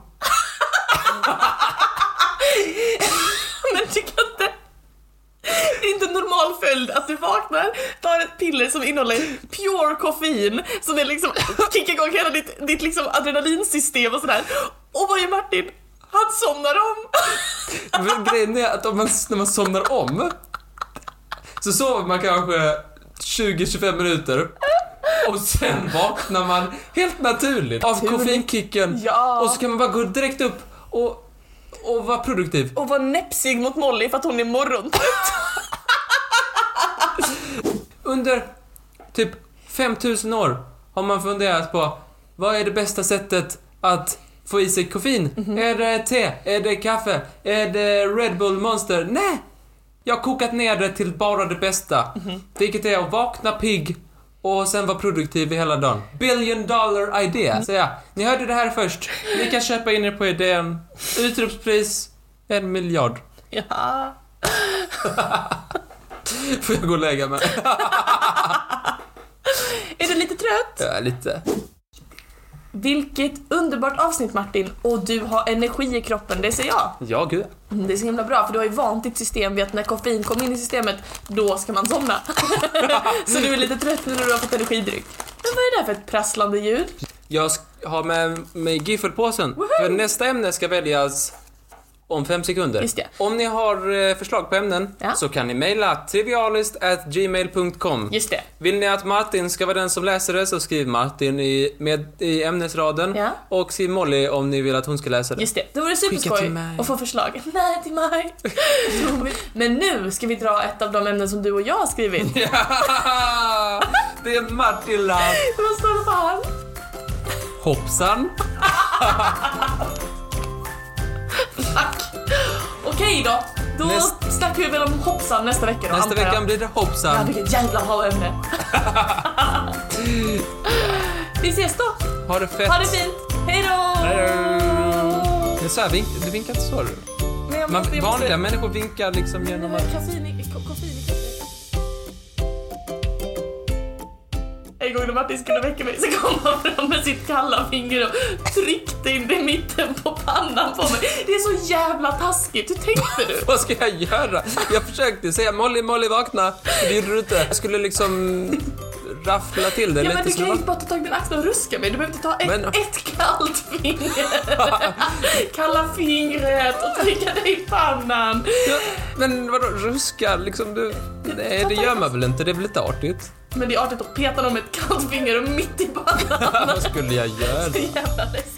[SPEAKER 2] Men tycker jag inte... Det är inte en normal följd att du vaknar, tar ett piller som innehåller pure koffein, så det liksom kickar igång hela ditt, ditt liksom adrenalinsystem och sådär. Och vad gör Martin? Han somnar om!
[SPEAKER 1] Men grejen är att om man, när man somnar om så sover man kanske 20-25 minuter och sen vaknar man helt naturligt av
[SPEAKER 2] Naturligt.
[SPEAKER 1] koffeinkicken
[SPEAKER 2] Ja.
[SPEAKER 1] och så kan man bara gå direkt upp och, och vara produktiv.
[SPEAKER 2] Och var näpsig mot Molly för att hon är morgontrött.
[SPEAKER 1] Under typ 5000 år har man funderat på vad är det bästa sättet att få i sig koffein? Är det te? Är det kaffe? Är det Red Bull Monster? Nej! Jag har kokat ner det till bara det bästa. Vilket är att vakna pigg och sen vara produktiv i hela dagen. Billion dollar idé, säger jag. Ni hörde det här först. Ni kan köpa in er på idén. Utropspris, en miljard.
[SPEAKER 2] Ja.
[SPEAKER 1] Får jag gå och lägga mig?
[SPEAKER 2] Är du lite trött?
[SPEAKER 1] Ja, lite.
[SPEAKER 2] Vilket underbart avsnitt Martin! Och du har energi i kroppen, det ser jag.
[SPEAKER 1] Ja, gud.
[SPEAKER 2] Mm, Det är så himla bra för du har ju vant ditt system vid att när koffein kommer in i systemet, då ska man somna. så du är lite trött nu när du har fått energidryck. Men vad är det här för ett prasslande ljud?
[SPEAKER 1] Jag sk- har med mig giffelpåsen. För nästa ämne ska väljas om fem sekunder.
[SPEAKER 2] Just det.
[SPEAKER 1] Om ni har eh, förslag på ämnen
[SPEAKER 2] Ja.
[SPEAKER 1] så kan ni mejla trivialist@gmail.com.
[SPEAKER 2] Just det.
[SPEAKER 1] Vill ni att Martin ska vara den som läser det så skriv Martin i, med, i ämnesraden.
[SPEAKER 2] Ja.
[SPEAKER 1] Och skriv Molly om ni vill att hon ska läsa det.
[SPEAKER 2] Just det. Det vore
[SPEAKER 1] Skicka till
[SPEAKER 2] superskoj
[SPEAKER 1] mig.
[SPEAKER 2] att få förslag. Nej, till mig. Men nu ska vi dra ett av de ämnen som du och jag har skrivit.
[SPEAKER 1] Ja! Det är Martilla!
[SPEAKER 2] Vad står det på han?
[SPEAKER 1] Hoppsan!
[SPEAKER 2] Tack. Okej då. Då
[SPEAKER 1] Näst-
[SPEAKER 2] snackar vi väl om hoppsan nästa vecka då,
[SPEAKER 1] Nästa
[SPEAKER 2] antar jag.
[SPEAKER 1] vecka blir det
[SPEAKER 2] Ja,
[SPEAKER 1] hoppsan.
[SPEAKER 2] vilket jävla bra ämne. vi ses då.
[SPEAKER 1] Ha det fett!
[SPEAKER 2] Ha det fint! Hej då!
[SPEAKER 1] Hej Det är så här, vink- du vinkar inte så du.
[SPEAKER 2] Men jag
[SPEAKER 1] Man,
[SPEAKER 2] måste- jag måste-
[SPEAKER 1] vanliga människor vinkar liksom genom att...
[SPEAKER 2] Koffein i- ko- koffein i kaffet. En gång när Martin skulle väcka mig så kom han fram med sitt kalla finger och tryckte in det i mitten på pannan på mig. Det är så jävla taskigt, hur tänkte du?
[SPEAKER 1] Vad ska jag göra? Jag försökte säga Molly, Molly vakna. Det gjorde du inte. Jag skulle liksom raffla till det
[SPEAKER 2] Ja men
[SPEAKER 1] lite.
[SPEAKER 2] du
[SPEAKER 1] så det
[SPEAKER 2] kan ju
[SPEAKER 1] var-
[SPEAKER 2] inte bara ta tag i min axel och ruska mig, du behöver inte ta ett,
[SPEAKER 1] Men-
[SPEAKER 2] ett kallt finger. Kalla fingret och trycka dig i pannan.
[SPEAKER 1] Ja, men vadå, ruska liksom? Du... Nej, det gör man väl inte? Det är väl lite artigt?
[SPEAKER 2] Men det är artigt att peta någon med ett kallt finger och mitt i pannan.
[SPEAKER 1] Vad skulle jag göra?
[SPEAKER 2] Jävla läskigt.